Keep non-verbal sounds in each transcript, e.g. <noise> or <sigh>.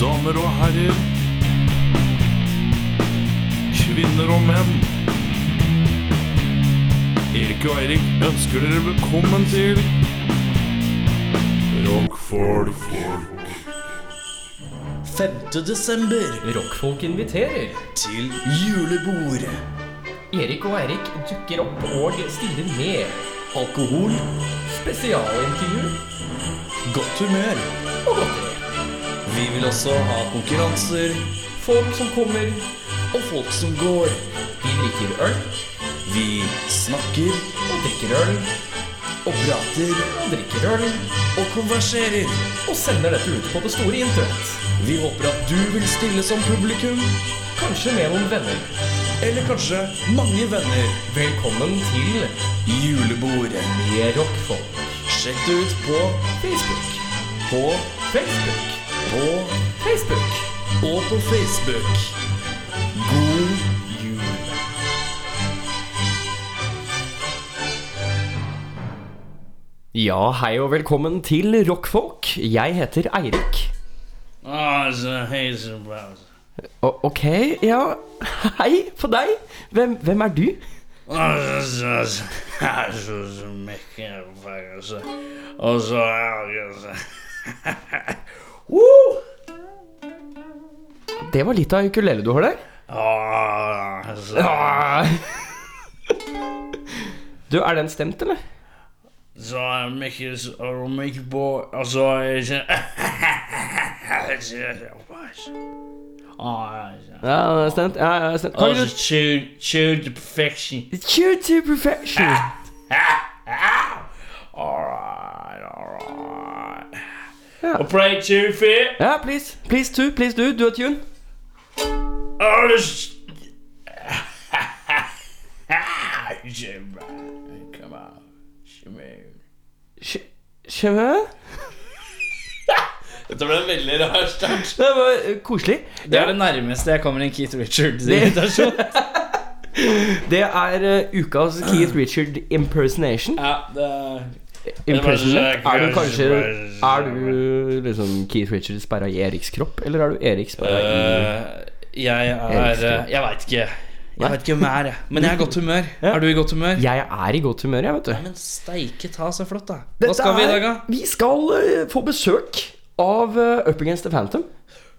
damer og herrer. Kvinner og menn. Erik og Eirik ønsker dere velkommen til Rockfolk. 5. desember Rockfolk inviterer. til julebord. Erik og Eirik dukker opp og stiller med. Alkohol, Spesialintervju godt humør. og godteri. Vi vil også ha konkurranser Folk som kommer. og folk som går. Vi drikker øl Vi snakker og drikker øl og prater og drikker øl og konverserer. og sender dette ut på det store internett. Vi håper at du vil stille som publikum, Kanskje med noen venner. eller kanskje mange venner. Velkommen til Julebord. Med Rockfolk. Sjekk det ut på, Facebook, på, Facebook, på Facebook. og på Facebook. God jul. Ja, hei og velkommen til Rockfolk. Jeg heter Eirik. er Ah, så hei, så bra. O- ok, ja. Hei på deg. Hvem, hvem er du? Ah, er så- så- ah, så- så mye fag, og så- Og så ah, ja, så- Woo! Det var litt av ukulele du har der. Ah, så- Ah. Du, er den stemt, eller? Så er mye så er det mye på Og så er det så- Ah, så- Ja, den er stemt. Ja, ja, den er stemt. Kom Og igjen. så tune- tune to perfection. Cheer to perfection. Alright, alright. Ja. Og play two feet. Ja, please. Please to, please do. Du er tune. Oh, <laughs> this... Jim, come on, Shimon. Sh- Sjø? Dette ble en veldig rar start. Det var eh, koselig. Det er det nærmeste jeg kommer en Keith <laughs> Richards-invitasjon. Det er eh, ukas Keith Richard impersonation. Ja, det er... Impersonate? Er du kanskje Er du liksom Keith Richard sperra i Eriks kropp, eller er du Erik sperra i jeg er elsker eh, Jeg veit ikke. Nei. Eh, Jeg veit ikke hvem jeg er, jeg. men jeg er i godt humør. <laughs> Ja. Er du i godt humør? Jeg er i godt humør, jeg, vet du. Men steike ta, så flott, da. Dette Hva skal vi i dag, da? er- Vi skal eh, få besøk av eh, Up Against the Phantom.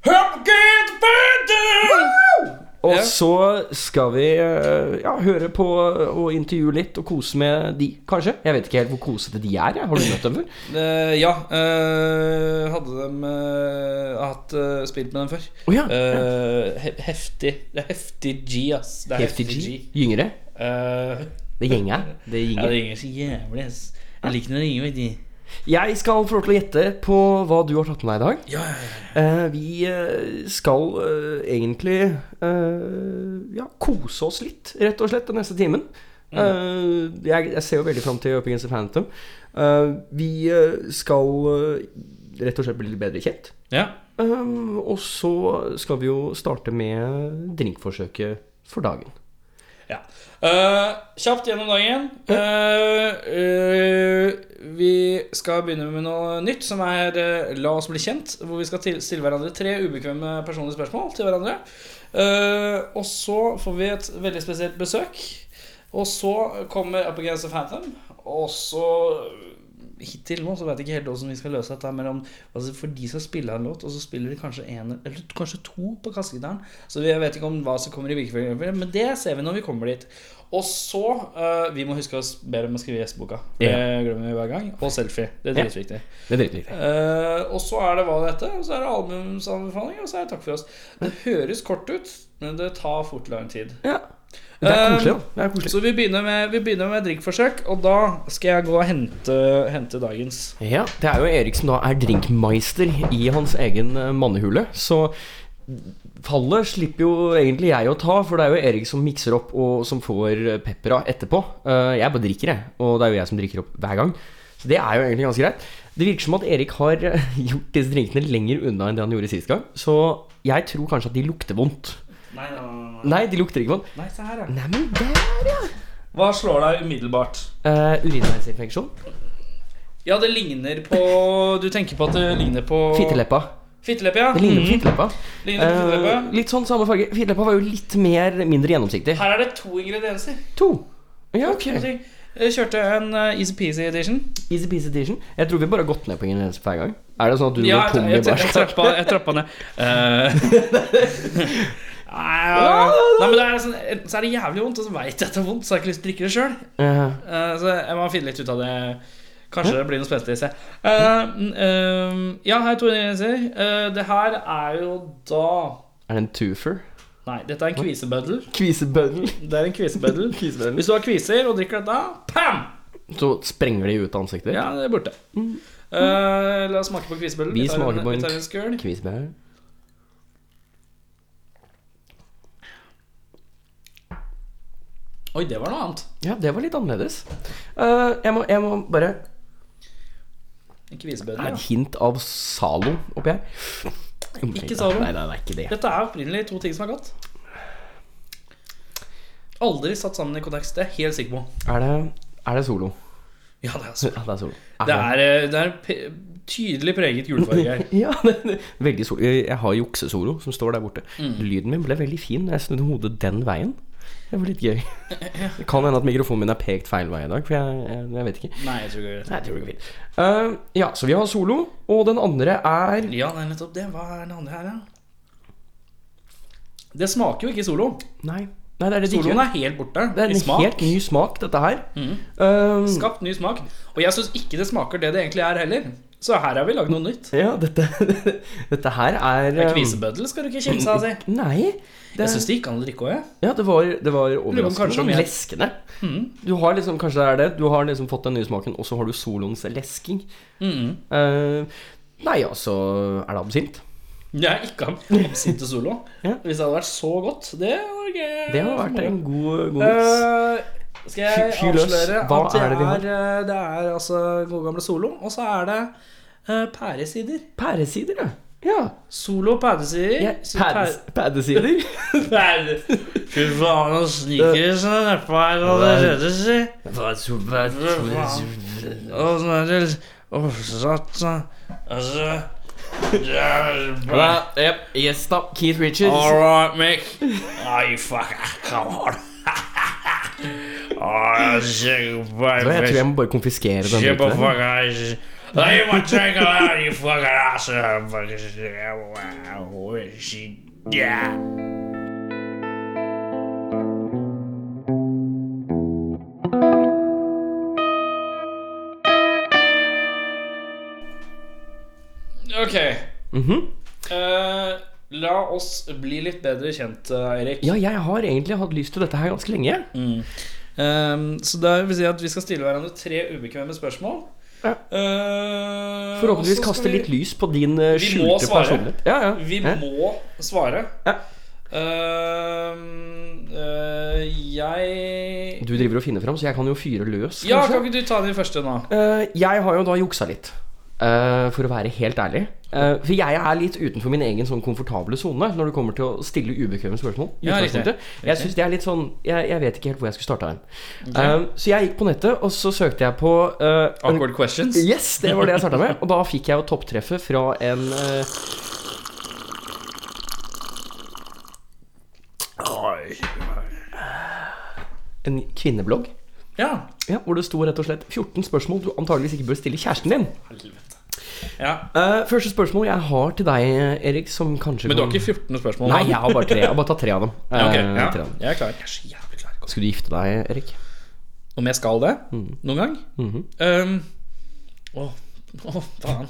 Hopkins Phantom! Og Ja. så skal vi eh, ja, høre på og intervjue litt og kose med de, kanskje. Jeg vet ikke helt hvor kosete de er. Jeg. Har du møtt dem før? Eh, ja. eh, hadde de eh, hatt eh, spilt med dem før? Å ja, Eh, he heftig. Det er heftig G, ass. Det er heftig, FTG. G. Gyngere. Eh, Det gjenger. Det ja, gjenger. det ringer så jævlig, ass. Jeg liker når det ringer, vet du. Jeg skal få lov til å gjette på hva du har tatt med deg i dag. Ja, ja, Eh, vi eh, skal eh, egentlig eh, ja, kose oss litt, rett og slett, den neste timen. Mm. Eh, jeg, jeg ser jo veldig fram til Up Against the Phantom. Eh, vi eh, skal eh, rett og slett bli litt bedre kjent. ja. Um, og så skal vi jo starte med drinkforsøket for dagen. ja. Eh, kjapt gjennom dagen. Eh, eh, vi skal begynne med noe nytt, som er eh, La oss bli kjent. Hvor vi skal til stille hverandre tre ubekvemme personlige spørsmål til hverandre. Eh, og så får vi et veldig spesielt besøk. Og så kommer Up Against the Phantom. Og så Hittil nå så vet jeg ikke helt hvordan vi skal løse dette. her, Men om, altså for de som spiller en låt, og så spiller de kanskje en, eller kanskje to på kassegitaren. Så vi vet ikke om hva som kommer i hvilken rekkefølge, men det ser vi når vi kommer dit. Og så eh, Vi må huske oss bedre om å skrive gjesteboka. Eh, Det glemmer vi hver gang. Og selfie. Det er dritviktig. Det er dritviktig. Eh, og så er det hva det heter, og så er det albumsanbefaling, og så er det takk for oss. Det høres kort ut, men det tar fort lang tid. Ja. Det er Um, koselig, da. Det er koselig. Så vi begynner med, vi begynner med drikkforsøk, og da skal jeg gå og hente, hente dagens. Ja, det er jo Erik som da er drinkmeister i hans egen eh, mannehule, så fallet slipper jo egentlig jeg å ta, for det er jo Erik som mikser opp og som får eh, peppera etterpå. Eh, Jeg bare drikker, jeg, og det er jo jeg som drikker opp hver gang. Så det er jo egentlig ganske greit. Det virker som at Erik har eh, <laughs> gjort disse drinkene lenger unna enn det han gjorde sist gang, så jeg tror kanskje at de lukter vondt. Nei, nei, nei, Nei, de lukter ikke vondt. nei. se her, ja. Neimen, der, ja! Hva slår deg umiddelbart? Uh, Urinveisinfeksjon. Ja, det ligner på Du tenker på at det ligner på Fitteleppa. Fitteleppe, ja. Det ligner på Mhm. fitteleppa. Ligner på fitteleppe. Eh, litt sånn samme farge. Fitteleppa var jo litt mer, mindre gjennomsiktig. Her er det to ingredienser. To. Ja, ok. Jeg kjørte en eh, Easy Peasy Edition. Easy peasy edition. Jeg tror vi bare har gått ned på ingredienser hver gang. Er det sånn at du Ja, går jeg, tom i jeg, jeg, bæsj? trappa, jeg trappa ned. Eh, Nei, Nei, men det er sånn, så er det jævlig vondt, og så veit jeg at det er vondt, så har jeg ikke lyst til å drikke det sjøl. Eh, så jeg må finne litt ut av det. Kanskje det blir noe spenstig. se. Eh, mm, eh, ja, her er to ingredienser. Eh, det her er jo da <laughs> er det en twofer? Nei, dette er en kvisebøddel. Kvisebøddel. Det er <laughs> en kvisebøddel. Hvis du har kviser og drikker dette, pam! Så sprenger de ut av ansiktet? Ja, det er borte. Eh, la oss smake på kvisebøddel. Mm. Vi tar smaker på en- vi tar en skøl. Kvisebøddel. Oi, det var noe annet. Ja, det var litt annerledes. Eh, jeg, må, jeg må bare En Det kvisebøddel, er ja. et hint av Zalo oppi her. Ikke Zalo. Nei, nei, det er ikke det. Dette er opprinnelig to ting som er godt. Aldri satt sammen i kontekst, det er jeg helt sikker på. Er det, er det Solo? Ja, det er <laughs> Ja, så. det er Solo. Det er, eh, det er pe- tydelig preget julefarge her. <laughs> Ja, det- det- veldig solo. Jeg jeg har juksesolo som står der borte. Mm. Lyden min ble veldig fin når jeg snudde hodet den veien. Det var litt gøy. Det kan hende at mikrofonen min er pekt feil vei i dag, for jeg, jeg, jeg vet ikke. Nei, jeg tror ikke det. Nei, det går fint. Eh, ja, så vi har solo, og den andre er Ja, det er nettopp det. Hva er den andre her, da? Det smaker jo ikke solo. Nei, nei det er det det ikke Soloen gjør. er helt borte. Det er i en smak. Mm. helt ny smak, dette her. Eh, Skapt ny smak. Og jeg syns ikke det smaker det det egentlig er heller. Så her har vi lagd noe nytt. ja, dette, dette her er En eh, kvisebøddel skal du ikke kimse <laughs> av, si. Nei. Det, Jeg syns det gikk an å drikke òg, jeg. Ja, det var, det var kanskje overraskende om men jeg- leskende. Mm. Du har liksom, kanskje det er det, du har liksom fått den nye smaken, og så har du soloens lesking. Mm. Eh, nei, altså Er det absint? Jeg er ikke han absinte solo. Ja. Hvis det hadde vært så godt, det var gøy. Det har vært en god, god mix. Eh, Skal jeg Fyr løs. avsløre Hva at det er det vi har? er, eh, det er altså gode gamle solo, og så er det eh, pæresider. Pæresider, ja. ja. Solo og pæresider. ja. Så Pæres, pæresider. pære- pære- <laughs> Fy faen, nå sniker det seg nedpå her, og det rører seg. Og så er det oversatt sånn Altså det er- Ja, yep, yes da. Keith Richards. All right, Mick. Oh, you fucker. Come on. <laughs> Da, oh, sugar jeg tror baby. jeg må bare konfiskere den. Shit, lite. motherfucker. Oh, Leave my drinker out, you fucking asshole. Fucking shit. Wow, she- Yeah. Okay. Mhm. Eh, la oss bli litt bedre kjent, eh, Eirik. Ja, jeg har egentlig hatt lyst til dette her ganske lenge. Mm. Ehm, så det vil si at vi skal stille hverandre tre ubekvemme spørsmål. Ja. Eh, Forhåpentligvis og så skal kaste vi- litt lys på din eh, Vi må skjulte svare. personlighet. Ja, ja. Vi Hæ? må svare. Ja. Ehm, eh, jeg Du driver og finner fram, så jeg kan jo fyre løs. Ja, kanskje? kan ikke du ta den første nå? Eh, jeg har jo da juksa litt, eh, for å være helt ærlig. Eh, for jeg er litt utenfor min egen sånn komfortable sone når det kommer til å stille ubekvemme spørsmål. i Ja, utgangspunktet. Jeg synes det er litt sånn jeg, jeg vet ikke helt hvor jeg skulle starta den. Eh, så jeg gikk på nettet, og så søkte jeg på eh, en- Awkward questions. Yes, det var det jeg starta <laughs> med. Og da fikk jeg jo topptreffet fra en eh, En kvinneblogg. Ja. Ja, hvor det sto rett og slett 14 spørsmål du antageligvis ikke bør stille kjæresten din. Helvete. Ja. Eh, første spørsmål jeg har til deg, Erik, som kanskje Men du har kan- ikke 14 spørsmål? nå? Nei, jeg har bare tre. Jeg har bare tatt tre av dem. Ja, ok, Eh, ja. tre av dem. Jeg er klar. Jeg er så jævlig klar. Skulle du gifte deg, Erik? Om jeg skal det Mm. noen gang? Mhm. um, å, å, faen.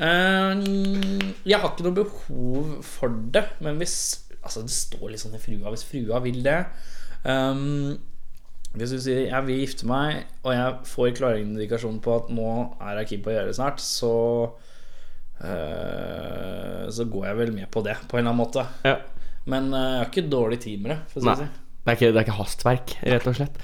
Um, um, jeg har ikke noe behov for det, men hvis Altså, det står litt sånn i frua hvis frua vil det. Um, hvis du sier 'jeg vil gifte meg', og jeg får klare indikasjoner på at nå er jeg keen på å gjøre det snart, så eh, Så går jeg vel med på det, på en eller annen måte. Ja. Men eh, jeg har ikke dårlig tid med det, for å si Nei. det sånn. Det er, ikke, det er ikke hastverk, rett og slett.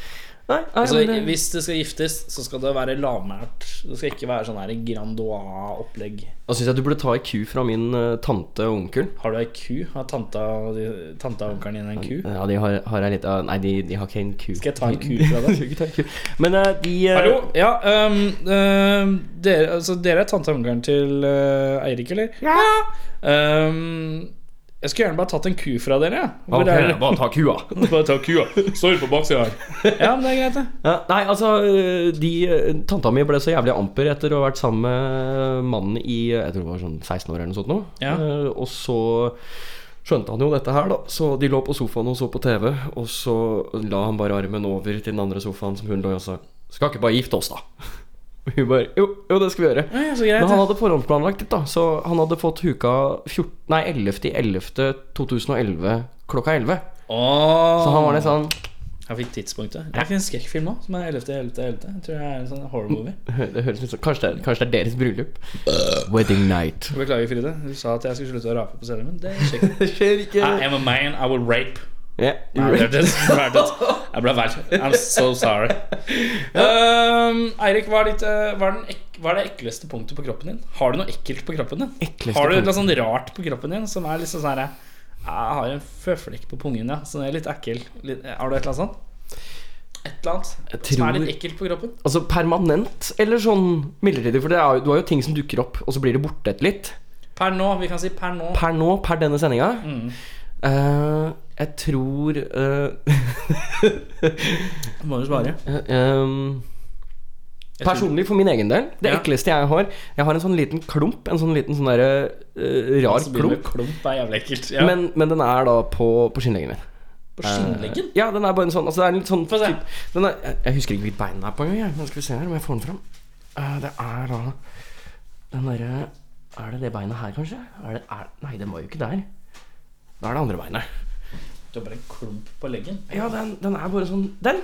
Nei, nei Altså, men, det- hvis det skal giftes, så skal det være lavmælt. Det skal ikke være sånn her Grandois-opplegg. Da syns jeg du burde ta ei ku fra min eh, tante og onkel. Har du ei ku? Har tanta og de- tanta og onkelen din en ku? Ja, de har, har jeg litt ah, Nei, de, de har ikke en ku. Skal jeg ta en ku fra <laughs> deg? Du kan ta en ku. Men eh, de eh, Hallo? Ja, øhm, øhm, dere, altså, dere er tante og onkelen til øh, Eirik, eller? Ja! jeg skulle gjerne bare tatt en ku fra dere. Ja. Hvor Ok, er- bare ta kua. <laughs> Bare ta kua. <laughs> Står på baksida her. Ja, men det er greit, det. Ja, nei, altså eh, de, eh, Tanta mi ble så jævlig amper etter å ha vært sammen med mannen i eh, Jeg tror det var sånn 16 år eller noe sånt. Nå. Ja. Eh, Og så skjønte han jo dette her, da. Så de lå på sofaen og så på TV, og så la han bare armen over til den andre sofaen som hun lå i, og sa Skal ikke bare gifte oss, da? <laughs> Og hun bare Jo, jo det skal vi gjøre. Ja, ja, så greit, Men han det. hadde forhåndsplanlagt litt, da. Så han hadde fått huka 14, nei, 11.11.2011 klokka 11. Åh. Så han var litt sånn Jeg fikk tidspunktet. Det er ikke en skrekkfilm nå, som er 11.11.11. Jeg tror det er en sånn horror movie. Det høres litt sånn Kanskje det, kanskje det er deres bryllup? Wedding night. Beklager, Fride. Du sa at jeg skulle slutte å rape på scenen min. Det skjer ikke. <laughs> Det skjer ikke. I am a man, I will rape. Ja, Nei, det right. hørtes fælt ut. Jeg ble vel. I'm so sorry. Um, Eirik, hva, er ditt, eh, hva, er den ek- hva er det ekleste punktet på kroppen din? Har du noe ekkelt på kroppen din? Ekleste har du punkt. noe sånn rart på kroppen din som er liksom sånn her Jeg har en føflekk på pungen, ja. Så den er litt ekkel. Litt, eh, har du et eller annet sånt? Et eller annet Jeg som er tror- litt ekkelt på kroppen? Altså permanent eller sånn midlertidig? For det er, jo- du har jo ting som dukker opp, og så blir det borte etter litt. Per nå. Vi kan si per nå. Per nå, per denne sendinga Mm. eh, Jeg tror <laughs> Må du svare. eh, ehm, Personlig, for min egen del, det Ja. ekleste jeg har Jeg har en sånn liten klump. En sånn liten sånn derre eh, rar Klump. klump. klump er jævlig ekkelt. Ja. Men, men den er da på, på skinnleggen min. på skinnleggen? Ja, den er bare en sånn Altså, det er en litt sånn Få se. typ- den er, jeg, jeg husker ikke hvilket bein den er på engang. jeg. Men skal vi se her om jeg får den fram. Eh, det er da den derre Er det det beinet her, kanskje? Er det, er, nei, den var jo ikke der. Da er det andre beinet. Du har bare en klump på leggen. Ja, den, den er bare sånn Den!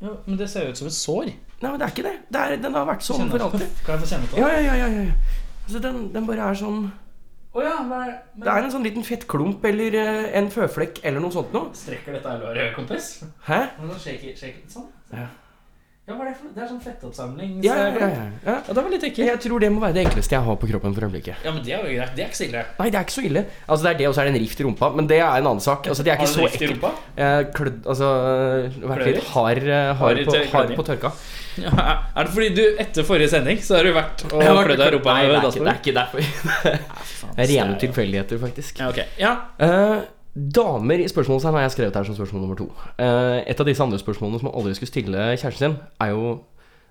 Ja, men det ser jo ut som et sår. Nei, men det er ikke det. det er, den har vært sånn Kjenner- for alltid. Kan jeg få kjenne på det? Ja, ja, ja. ja, ja, ja. Altså, den, den bare er sånn Å ja, men, men Det er en sånn liten fettklump eller eh, en føflekk eller noe sånt noe. strekker dette her låret, kompis? Hæ? Men sånn shaker, shaker, litt sånn? Ja. Ja, hva er det for noe? Det er sånn fettoppsamling. Ja, så- sånn- ja, ja, ja, ja. Ja, det var litt ekkelt. Jeg tror det må være det ekleste jeg har på kroppen for øyeblikket. Ja, men det er jo greit. Det er ikke så ille. Nei, det er ikke så ille. Altså Det er det, og så er det en rift i rumpa. Men det er en annen sak. Altså Det er Har ikke du så drift i ekkelt. rumpa? Eh, Klødd Altså vært litt hard, eh, hard, Hard i på, tør- hard klødding. på tørka. Ja, er det fordi du etter forrige sending så har du vært og klødd deg i rumpa? Nei, det med er ikke, det dassbordet? er ikke derfor. Det er rene tilfeldigheter, faktisk. Ja, ok. Ja. Eh, damer i spørsmålstegn har jeg skrevet her som spørsmål nummer to. Eh, et av disse andre spørsmålene som man aldri skulle stille kjæresten sin, er jo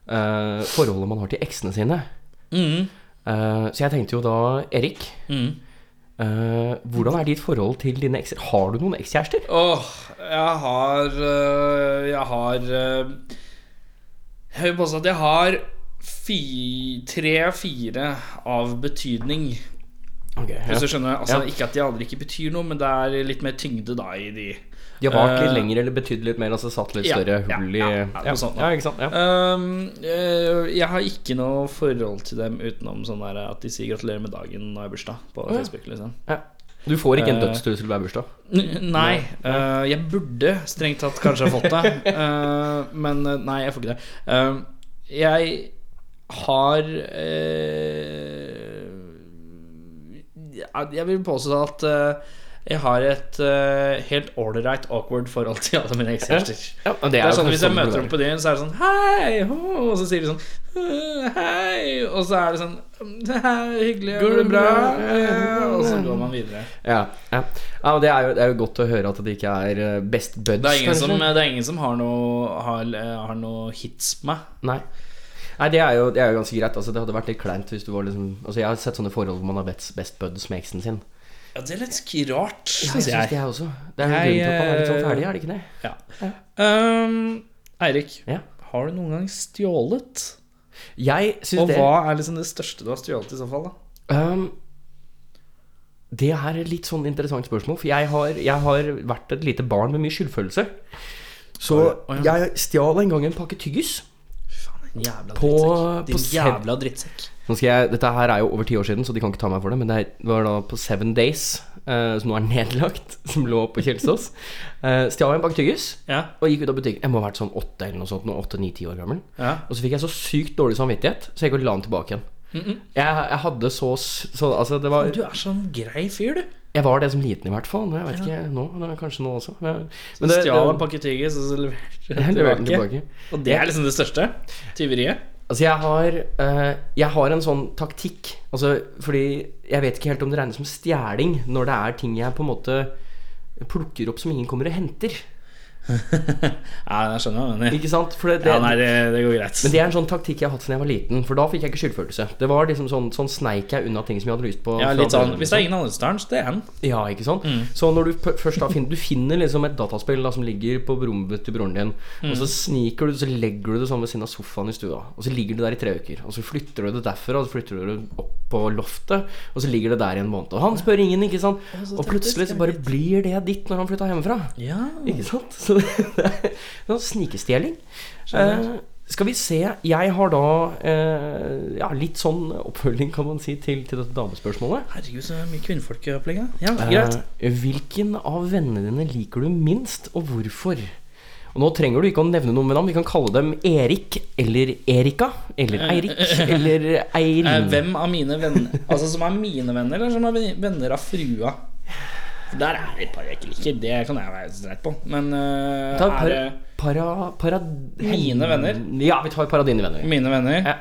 eh, forholdet man har til eksene sine. Mhm. Eh, så jeg tenkte jo da, Erik Mhm. eh, Hvordan er ditt forhold til dine ekser? Har du noen ekskjærester? Åh, jeg har øh, Jeg har øh, Jeg vil påstå at jeg har fi- tre-fire av betydning. Okay, Hvis du skjønner, altså Ja. Ikke at de andre ikke betyr noe, men det er litt mer tyngde da i de. De har vart litt Eh, lenger eller betydd litt mer, altså satt litt ja, større ja, hull i ja, ja, noe sånt da. ja, ikke sant? Ja. Øhm, øh, jeg har ikke noe forhold til dem utenom sånn der at de sier 'gratulerer med dagen' når jeg har bursdag på Facebook. liksom Ja. Du får ikke en Eh, dødstrussel hver bursdag. N- Nei. øh, jeg burde strengt tatt kanskje ha fått det. <laughs> øh, men øh, nei, jeg får ikke det. Øhm, jeg har eh, øh, jeg- Jeg vil påstå at øh, jeg har et øh, helt ålreit awkward forhold til alle mine ekskjærester. Ja, men det Det jo er sånn kanskje Hvis det jeg møter burde dem være. på byen, så er det sånn Hei! ho», Og så sier de sånn «Øh, Hei! Og så er det sånn «Hei, Hyggelig. Går det bra? Eh, Og så går man videre. ja, ja. ja, men det er, jo, det er jo godt å høre at det ikke er eh, best buds, Det er ingen som, eh, kanskje. det er ingen som har, noe, har, eh, har noe hits på meg. Nei. Nei, det er, jo, det er jo ganske greit. Altså, det hadde vært litt kleint hvis du var liksom Altså, Jeg har sett sånne forhold hvor man har best, best buds med eksen sin. Ja, det er litt rart, Ja, syns synes jeg. det er også. Det er jo grunnen til Jeg, at man er litt sånn eh, ferdig, er det ikke det? Ja. Um, Eirik, Ja. har du noen gang stjålet? Jeg Og synes det hva er liksom det største du har stjålet i så fall? da? Ehm, det er et litt sånn interessant spørsmål, for jeg har, jeg har vært et lite barn med mye skyldfølelse. Så jeg stjal en gang en pakke tyggis. Fy faen, Jævla På- drittsekk. Din på sev- jævla drittsekk. Nå skal jeg, dette her er jo over ti år siden, så de kan ikke ta meg for det. Men det er- det var da på Seven Days, eh, som nå er <laughs> nedlagt, som lå på Kjelsås. Eh, stjal jeg en pakke tyggis Ja, og gikk ut av butikken. Jeg må ha vært sånn åtte eller noe sånt, nå, åtte, ni, ti år gammel. ja. Og så fikk jeg så sykt dårlig samvittighet, så jeg gikk og la den tilbake igjen. jeg, jeg hadde så, s- så Altså, det var Du er sånn grei fyr, du. Jeg var det som liten i hvert fall. Men jeg vet ikke nå. men Kanskje nå også. Men, men det, Stjal en det, pakke tyggis, og så leverte jeg du leverte den den tilbake. tilbake. Og det er liksom det største tyveriet. Altså, jeg har, eh, jeg har en sånn taktikk. Altså, fordi jeg vet ikke helt om det regnes som stjeling når det er ting jeg på en måte plukker opp som ingen kommer og henter. Ja, jeg skjønner hva du mener. Ikke sant? For det, det, Ja, nei, det, det går greit. Men det er en sånn taktikk jeg har hatt siden jeg var liten, for da fikk jeg ikke skyldfølelse. Det var liksom sånn, sånn sneik jeg unna ting som jeg hadde lyst på. ja, fra litt sånn, før. Hvis det er ingen Handelsdalen, så det er den. Ja, ikke sant? Så når du p- først da finner Du finner liksom et dataspill da, som ligger på rommet til broren din, og så sniker du så legger du det sånn ved siden av sofaen i stua, og så ligger det der i tre uker. Og så flytter du det derfra, og så flytter du det opp på loftet, og så ligger det der i en måned. Og han spør ingen, ikke sant? Og plutselig så bare blir det ditt når han flytta hjemmefra. Ja. Ikke sant? <laughs> Så det, det er sånn snikestjeling. Eh, skal vi se Jeg har da eh, ja, litt sånn oppfølging, kan man si, til, til dette damespørsmålet. Herregud, så mye kvinnfolk i opplegget. Ja, greit. Eh, Hvilken av vennene dine liker du minst, og hvorfor? Og Nå trenger du ikke å nevne noen ved navn. Vi kan kalle dem Erik eller Erika. Eller Eirik eller Eh, Eirin. hvem av mine venner Altså som er mine venner, eller som er ven- venner av frua? For Der er det et par jeg ikke liker. Det kan jeg være streit på. Men eh, Ta er par, det para, para, Mine venner? Ja, vi tar para dine venner. mine venner Ja.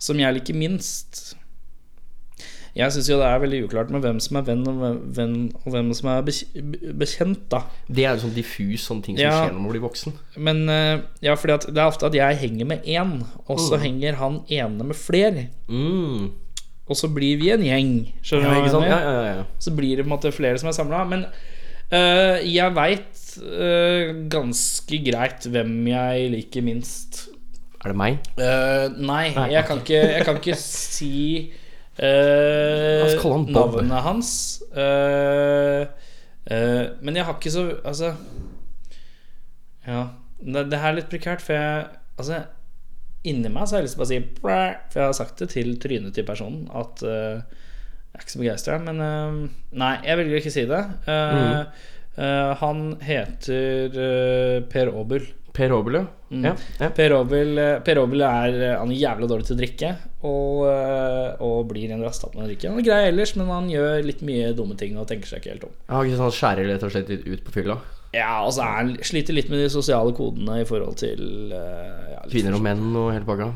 som jeg liker minst? Jeg syns jo det er veldig uklart med hvem som er venn, og hvem, venn, og hvem som er bekj- bekjent, da. Det er jo sånn diffus sånn ting som Ja. skjer når man blir voksen. Men eh, ja, fordi at det er ofte at jeg henger med én, og så henger han ene med flere. Mm. Og så blir vi en gjeng. Skjønner du Ja, hva ikke jeg sant? mener? Ja, ja, ja, ja. Så blir det på en måte flere som er samla. Men eh, jeg veit eh, ganske greit hvem jeg liker minst. Er det meg? Eh, nei, jeg kan ikke, jeg kan ikke si eh, La oss kalle han Bob. navnet hans. Eh, eh, men jeg har ikke så Altså Ja. Det, det her er litt prekært, for jeg Altså, inni meg så har jeg lyst til å bare si blæ, For jeg har sagt det til trynet til personen at eh, Jeg er ikke så begeistra, men eh, Nei, jeg velger å ikke si det. Eh, Mm. eh, han heter eh, Per Aabel. Mm. Per Aabel, ja. ja. ja. Per Obel, per Obel er, eh, han er jævla dårlig til å drikke og, eh, og blir en rastatt når han drikker. Han er grei ellers, men han gjør litt mye dumme ting og tenker seg ikke helt om. Jeg har ikke sånn skjærer rett og slett litt ut på fylla. Ja, og så er han sliter litt med de sosiale kodene i forhold til eh, ja, litt- Kvinner og menn og hele pakka.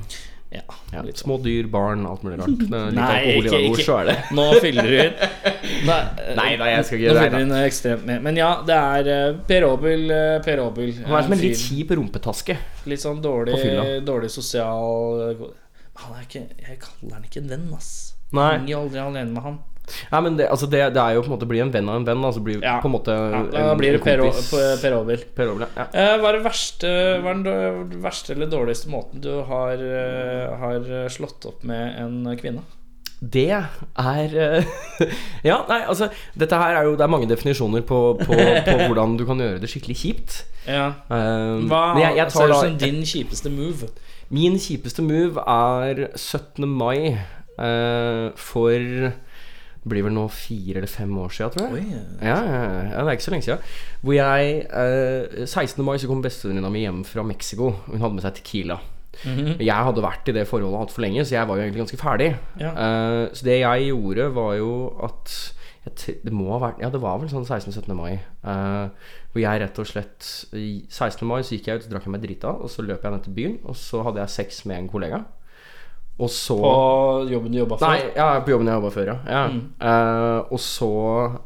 Ja, Ja. litt sånn. Små dyr, barn, alt mulig <laughs> rart. Det er Litt Nei, alkohol i ikke- hvert ord, ikke- så er det. <laughs> Nå fyller du <laughs> ut. Nei, eh, Nei da, jeg skal nå ikke fyller hun ekstremt med. Men ja, det er eh, Per Obel. eh, Per Obel Han er som en fyr- litt kjip rumpetaske. litt sånn på fylla. dårlig, dårlig sosial kode. Han er ikke Jeg kaller han ikke en venn, ass. Nei. Henger aldri alene med han. Nei, men det, altså det, det er jo på en måte bli en venn av en venn. Altså bli Ja. på en måte Ja, da en- blir det en Per, O- kompis. P- per Obel. Per Aabel, ja. Eh, hva er det verste, hva er den dår- verste eller dårligste måten du har, eh, har slått opp med en kvinne? Det er eh, <laughs> Ja, nei, altså Dette her er jo Det er mange definisjoner på, på, <laughs> på hvordan du kan gjøre det skikkelig kjipt. Ja. Eh, Hva men jeg, jeg tar ser da ut som din kjipeste move? Min kjipeste move er 17. mai eh, for Det blir vel nå fire eller fem år siden, tror jeg. Ja, ja, ja, ja, det er ikke så lenge siden. Hvor jeg eh, 16. mai så kom bestevenninna mi hjem fra Mexico. Hun hadde med seg Tequila. Mhm. Mhm. Jeg hadde vært i det forholdet altfor lenge, så jeg var jo egentlig ganske ferdig. Ja. Eh, så det jeg gjorde, var jo at jeg t det må ha vært Ja, det var vel sånn 16.-17. mai. eh, hvor jeg rett og slett i 16. mai så gikk jeg ut, så drakk jeg meg drita, og så løp jeg ned til byen, og så hadde jeg sex med en kollega. Og så På jobben du jobba Mm. for? Nei, ja, på jobben jeg jobba før, ja. ja. Eh, og så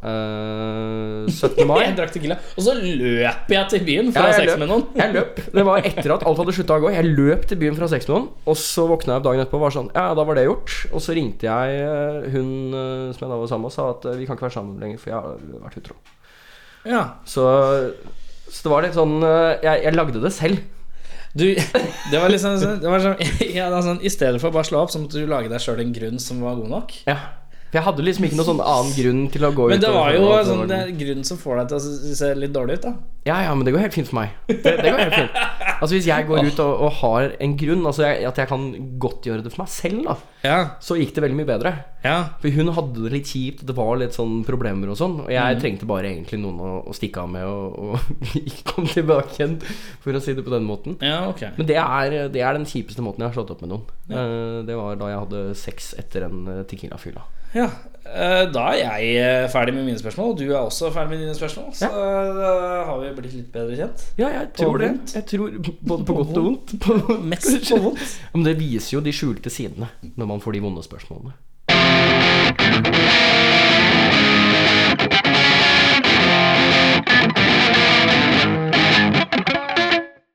eh, 17. mai <laughs> Jeg drakk tequila, og så løper jeg til byen for Ja, å ha jeg sex løp. med noen. Jeg løp. Det var etter at alt hadde slutta å gå. Jeg løp til byen fra seks med noen, og så våkna jeg opp dagen etterpå og var sånn Ja, da var det gjort. Og så ringte jeg eh, hun eh, som jeg da var sammen med, og sa at eh, vi kan ikke være sammen lenger, for jeg har vært utro. Ja. Så, så det var litt sånn eh, jeg, jeg lagde det selv. <laughs> Du, det var <laughs> liksom sånn, det var sånn, ja, det var sånn I stedet for å bare slå opp, så måtte du lage deg sjøl en grunn som var god nok. Ja. For jeg hadde liksom ikke noen sånn annen grunn til å gå Men ut det og- var jo og- sånn, det er grunnen som får deg til å se litt dårlig ut, da. Ja, ja, men det går helt fint for meg. Det, det går helt fint Altså Hvis jeg går ut og, og har en grunn, altså jeg, at jeg kan godtgjøre det for meg selv, da Ja, så gikk det veldig mye bedre. ja. For hun hadde det litt kjipt, det var litt sånn problemer og sånn. Og Mm. jeg trengte bare egentlig noen å, å stikke av med og, <laughs> og komme tilbake igjen, for å si det på den måten. Ja, ok. Men det er, det er den kjipeste måten jeg har slått opp med noen. Eh, Det var da jeg hadde sex etter en eh, tequila-fylla. Ja, eh, da er jeg eh, ferdig med mine spørsmål, og du er også ferdig med dine spørsmål. Så Ja. eh, da har vi blitt litt bedre kjent. Ja, jeg tror Og det. vondt. Jeg tror Både på godt og vondt. På, Mest på vondt. Men det viser jo de skjulte sidene når man får de vonde spørsmålene.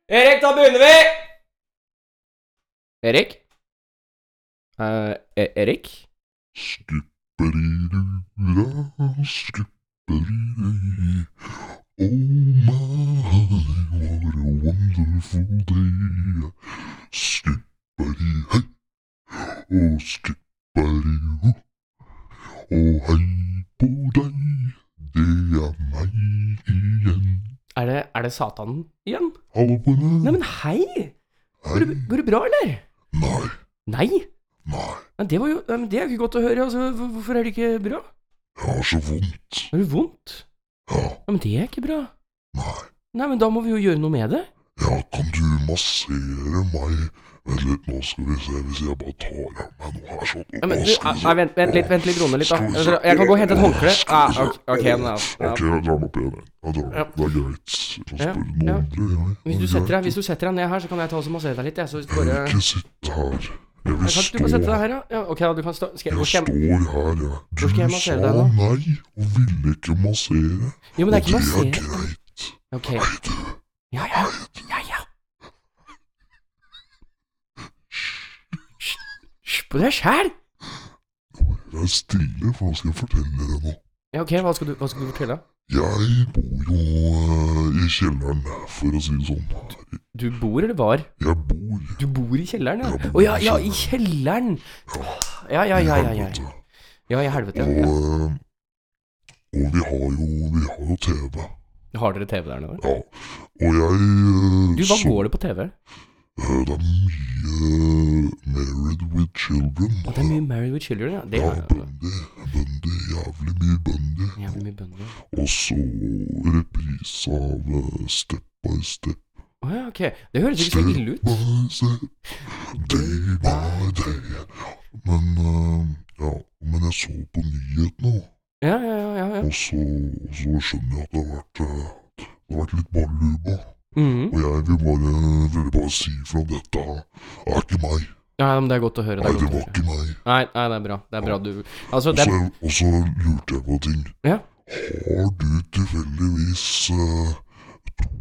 Erik, da begynner vi! Erik? Eh, E- Erik? Skipperiduraskupperi. Oh my, what a wonderful day. Skipperi hei, og skipperi ho. Og hei på deg, det er meg igjen. Er det, er det Satanen igjen? Hallo på deg. Nei, men hei! Går det, Hei. går det bra, eller? Nei, Nei? nei, Men det, var jo, nei, men det er jo ikke godt å høre. Altså, Hvor- hvorfor er det ikke bra? jeg har så vondt. Har du vondt? Ja, Ja, men det er ikke bra. nei. Nei, men da må vi jo gjøre noe med det. Ja, kan du massere meg? Vent litt, nå skal vi se hvis jeg bare tar av meg noe her sånn. Ja, men, Å, du, skal vi se. nei, vent, vent litt, vent litt, Rone litt, da. Altså, Skal vi se. Jeg kan gå og hente et håndkle. Ah, ok, ok, men da- ja. Ok, jeg drar den opp igjen. jeg. Jeg drar den. Ja. opp. Det er greit. Jeg kan Ja, spørre noen ja. andre, jeg. Hvis Det du er setter deg, greit. hvis du setter deg ned her, så kan jeg ta og så massere deg litt. Jeg, så hvis du Jeg vil bare... ikke sitte her. Jeg vil Kan, du stå kan sette deg her. her, ja. ja ok, ja, du kan stå. Skal jeg, hvor Jeg skal jeg... står her, jeg. Du skal jeg sa massere deg da? nei og ville ikke massere. Jo, men det er Og det er ikke massere. greit. Ok. Ja, ja. Ja, ja. Hysj, hysj på deg sjæl. Vær stille, for nå skal jeg fortelle deg noe. Ja, ok, hva skal du, hva skal du fortelle? Jeg bor jo eh, i kjelleren, for å si det sånn. Du bor eller var? Jeg bor Du bor i kjelleren, ja? Jeg Å bor i ja, ja, i kjelleren! Ja, ja, i ja, ja. Ja, helvete. ja i helvete. Og, Ja. eh, og vi har jo, vi har jo TV. Har dere TV der nede? Ja. Og jeg eh, Du, hva så- går det på TV? eh, Det er mye eh, Married with Children. Å, det er mye Married with Children, ja. Det ja, er Bundy. Bundy, Jævlig mye Bundy. jævlig mye bønder. Og så reprise av eh, Step by Step Å ja, ok. Det høres ikke så ille ut. by Step. Day by Day. Men eh, ja, men jeg så på nyhetene, da. Ja, ja, ja. ja, ja. og så, og så skjønner jeg at det har vært, eh, det har vært litt baluba. Mhm. Og jeg vil bare, ville bare si fra dette er ikke meg. ja, men det er godt å høre. Nei, Det er det godt å var ikke meg. høre. Nei, nei, det er bra. Det er bra du Altså, Og det er så, og så lurte jeg på en ting. Ja. Har du tilfeldigvis eh, to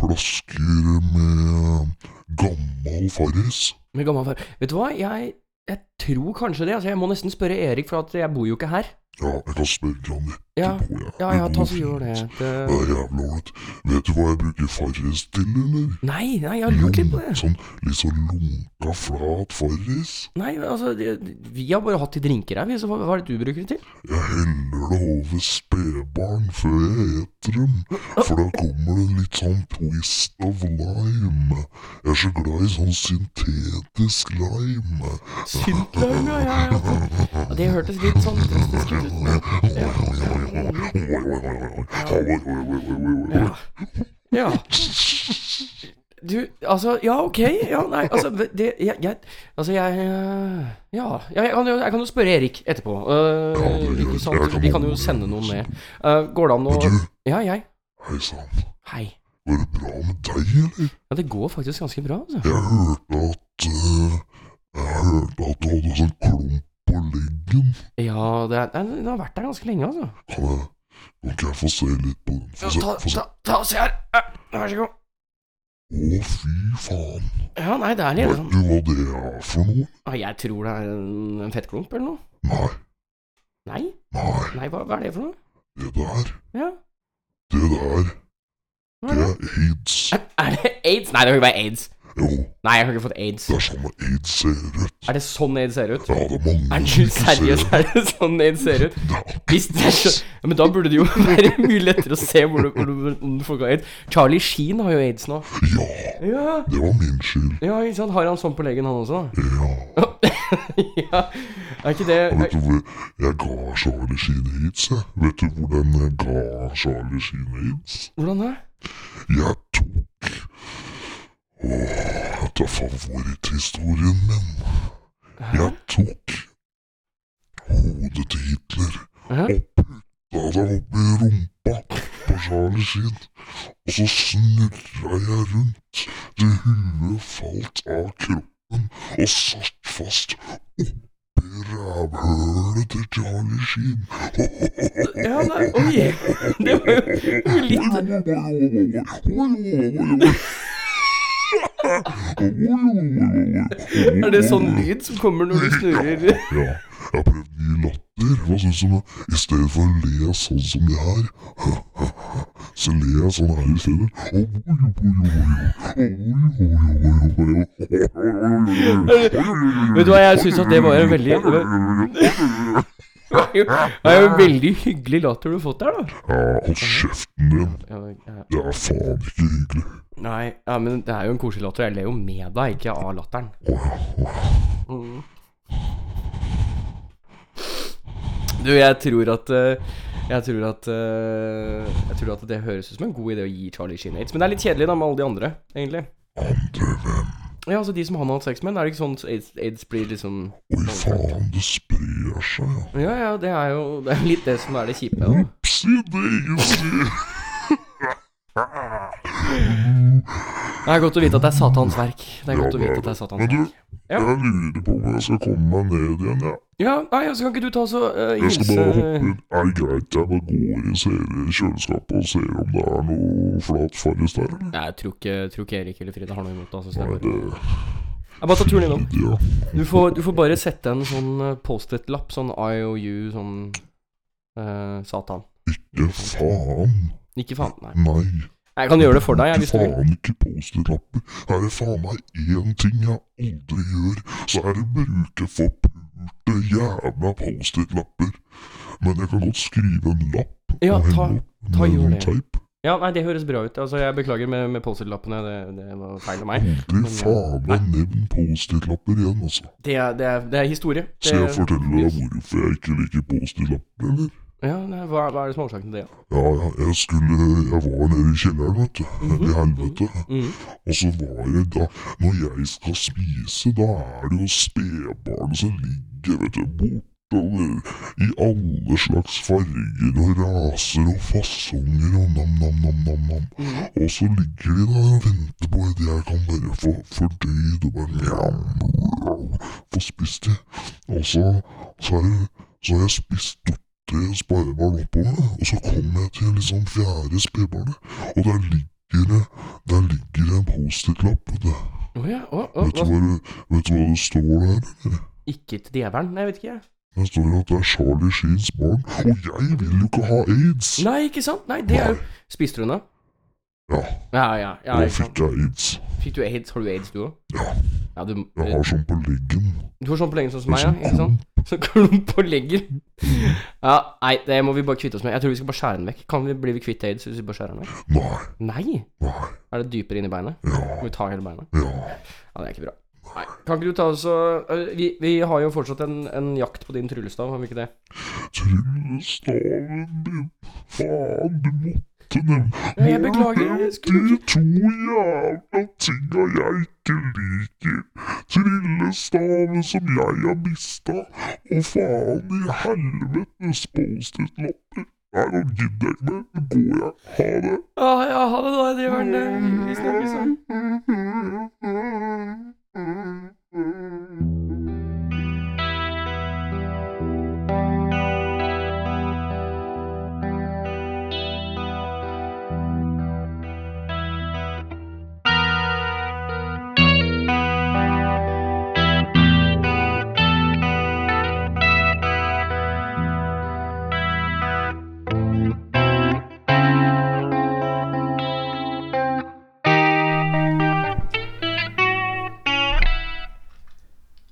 flasker med gammel Farris? Med gammel far. Vet du hva, jeg, jeg tror kanskje det. Altså, jeg må nesten spørre Erik, for at jeg bor jo ikke her. Ja, jeg kan spørre han etterpå, Ja, jeg. ja, ja ta så gjør det. Det det. er jævla ålreit. Vet du hva jeg bruker Farris til, eller? Nei, nei, jeg har lurt litt på det. Sånn litt sånn lunka, flat Farris. Nei, altså, det- vi har bare hatt de drinker her, vi, så hva hva er det du bruker det til? Jeg heller det over spedbarn før jeg eter dem, for da kommer det litt sånn twist of lime. Jeg er så glad i sånn syntetisk lime. Syntlarm, ja, ja, ja. Og det hørtes litt sånn drastisk ut. <laughs> Ja. ja. Du, altså, ja, ok, ja, nei, altså, det, jeg, jeg, altså, jeg, eh, ja, jeg, kan jo, jeg kan jo spørre Erik etterpå, eh, Ja, det gjør ikke jeg. sant, Jeg kan vi kan jo godt. sende noen med, Eh, går det an å, Men du- ja, jeg, Hei sann, hei, går det bra med deg, eller? ja, det går faktisk ganske bra, altså, Jeg hørte at eh, Jeg hørte at du hadde sånn klump på leggen. ja, det, er, nei, den har vært der ganske lenge, altså, Kan jeg, kan ikke jeg få se litt på den? Få Ja, se, ta, få se. ta, ta og se her, Eh, vær så god, Å, fy faen. ja, nei, det er litt Vet sånn, du hva det er for noe? ah, jeg tror det er en, en fettklump eller noe, Nei, nei, nei. nei, hva, hva er det for noe, Det der, ja, det der, hva det er det, er aids. er det aids, nei, det er jo ikke bare aids, Jo, Nei, jeg har ikke fått aids. det er sånn aids ser ut. Er det sånn aids ser ut? Ja, det er mange som Er det ikke ser seriøst? det. Er det sånn aids ser ut? Hvis det er sånn ja, Men da burde det jo <laughs> være mye lettere å se hvor du, hvor du, om du folk har aids. Charlie Sheen har jo aids nå. Ja, Ja, det var min skyld. ja ikke sant? Har han sånn på legen, han også? da? Ja. <laughs> ja. Er ikke det Vet du hvor jeg ga Charlie Sheen aids, jeg? Vet du hvordan jeg ga Charlie Sheen aids? Hvordan da? Jeg tok Åh, dette er favoritthistorien min. Jeg tok hodet til Hitler Hæ? og putta det opp i rumpa på Charlie Sheen. Og så snurra jeg rundt til huet falt av kroppen og satt fast oppi rævhølet til Charlie Sheen. Ja, nei, oi. Det var jo litt Er det sånn lyd som kommer når du snurrer? Ja, jeg har prøvd ny latter. Hva syns du om det? I stedet for å le sånn som det her, <laughs> så ler jeg sånn her i stedet. Vet du hva, jeg syns at det var en <laughs> veldig Det er jo en veldig hyggelig latter du har fått der, da. Ja, hold kjeften din. Ja, men, ja. Det er faen ikke hyggelig. Nei, ja, men det er jo en koselig latter. Jeg ler jo med deg, ikke av latteren. Du, jeg tror at eh, Jeg tror at eh, Jeg tror at det høres ut som en god idé å gi Charlie Sheen aids. Men det er litt kjedelig da med alle de andre, egentlig. Ja, altså De som han har hatt sex med, er det ikke sånn at aids, aids blir liksom Oi, faen, det sprer seg, ja. Ja, ja, det er jo det er jo litt det som er det kjipe. da Psi, daisy. Det er godt å vite at det er Satans verk. Det er godt å vite at det er Men Satans du, verk. Ja. jeg lurer på om jeg skal komme meg ned igjen, jeg. Ja, nei, altså kan ikke du ta så eh, Jeg skal bare hoppe hilse inn. Er det greit jeg bare går i ser- kjøleskapet og ser om det er noe flat farris der, eller? Nei, jeg tror ikke, tror ikke Erik eller Frida har noe imot det. Altså, så det Nei, er det bare... Jeg bare tar turen innom. ja. Du får, du får bare sette en sånn eh, Post-It-lapp, sånn IOU, sånn eh, Satan. Ikke faen. Ikke faen, nei. Nei. Jeg kan gjøre det for deg, jeg, hvis du vil. Faen ikke Post-It-lapper. Er det faen meg én ting jeg aldri gjør, så er det bruke forpulte jævla Post-It-lapper. Men jeg kan godt skrive en lapp Ja, og ta- henge opp ta med gjør noe det. teip. Ja, nei, det høres bra ut. Altså, jeg beklager med, med Post-It-lappene, det, det var feil av meg. eh, Aldri faen meg nevn Post-It-lapper igjen, altså. Det er, det er, det er historie. Det, Skal jeg fortelle deg hvorfor jeg ikke liker Post-It-lapper, eller? ja, nei, hva, hva er det som er årsaken til det? da? Ja, ja, jeg skulle Jeg var nede i kjelleren, vet du. I helvete. Mhm. Og så var jeg da Når jeg skal spise, da er det jo spedbarnet som ligger, vet du, bortover i alle slags farger og raser og fasonger og nam-nam-nam-nam. Og så ligger de der og venter på at jeg kan bare få fordøyd og bare mjau, mjau, få spist det. Og så, så, er det, så har jeg spist tre spedbarn oppover, og så kommer jeg til liksom fjerde spedbarnet, og der ligger det der ligger det en Post-It-lapp. Vet, du. Å ja, å, å, vet, du hva hva? det- vet du hva det står der? Ikke til djevelen? Nei, jeg vet ikke, jeg. Det står at det er Charlie Sheens barn, og jeg vil jo ikke ha aids! Nei, ikke sant? Nei, det er jo Spiste du den, da? Ja, Ja, ja. ja da ikke sant. fikk jeg aids. Fikk du aids? Har du aids, du òg? Ja. ja du, Jeg har sånn på leggen. du har sånn på leggen sånn som Det meg, er sånn ja? Ikke sant? Så klump på leggen. Ja, nei, det må vi bare kvitte oss med. Jeg tror vi skal bare skjære den vekk. Kan vi Blir vi kvitt aids hvis vi bare skjærer den vekk? Nei, Nei! nei, Er det dypere inni beinet? ja, Må vi ta hele beinet? ja. Ja, det er ikke bra. Nei. Kan ikke du ta oss og øh, vi, vi har jo fortsatt en, en jakt på din tryllestav, har vi ikke det? Tryllestaven min, faen, du måtte nevne Ja, jeg beklager, jeg skulle De to jævla tinga jeg ikke liker. Tryllestaven som jeg har mista, og faen i helvetes Post-It-lapper. Nei, nå gidder jeg ikke mer. Nå går jeg. Ha det. Ja, ja, ha det, da, djevelen. Vi snakkes om.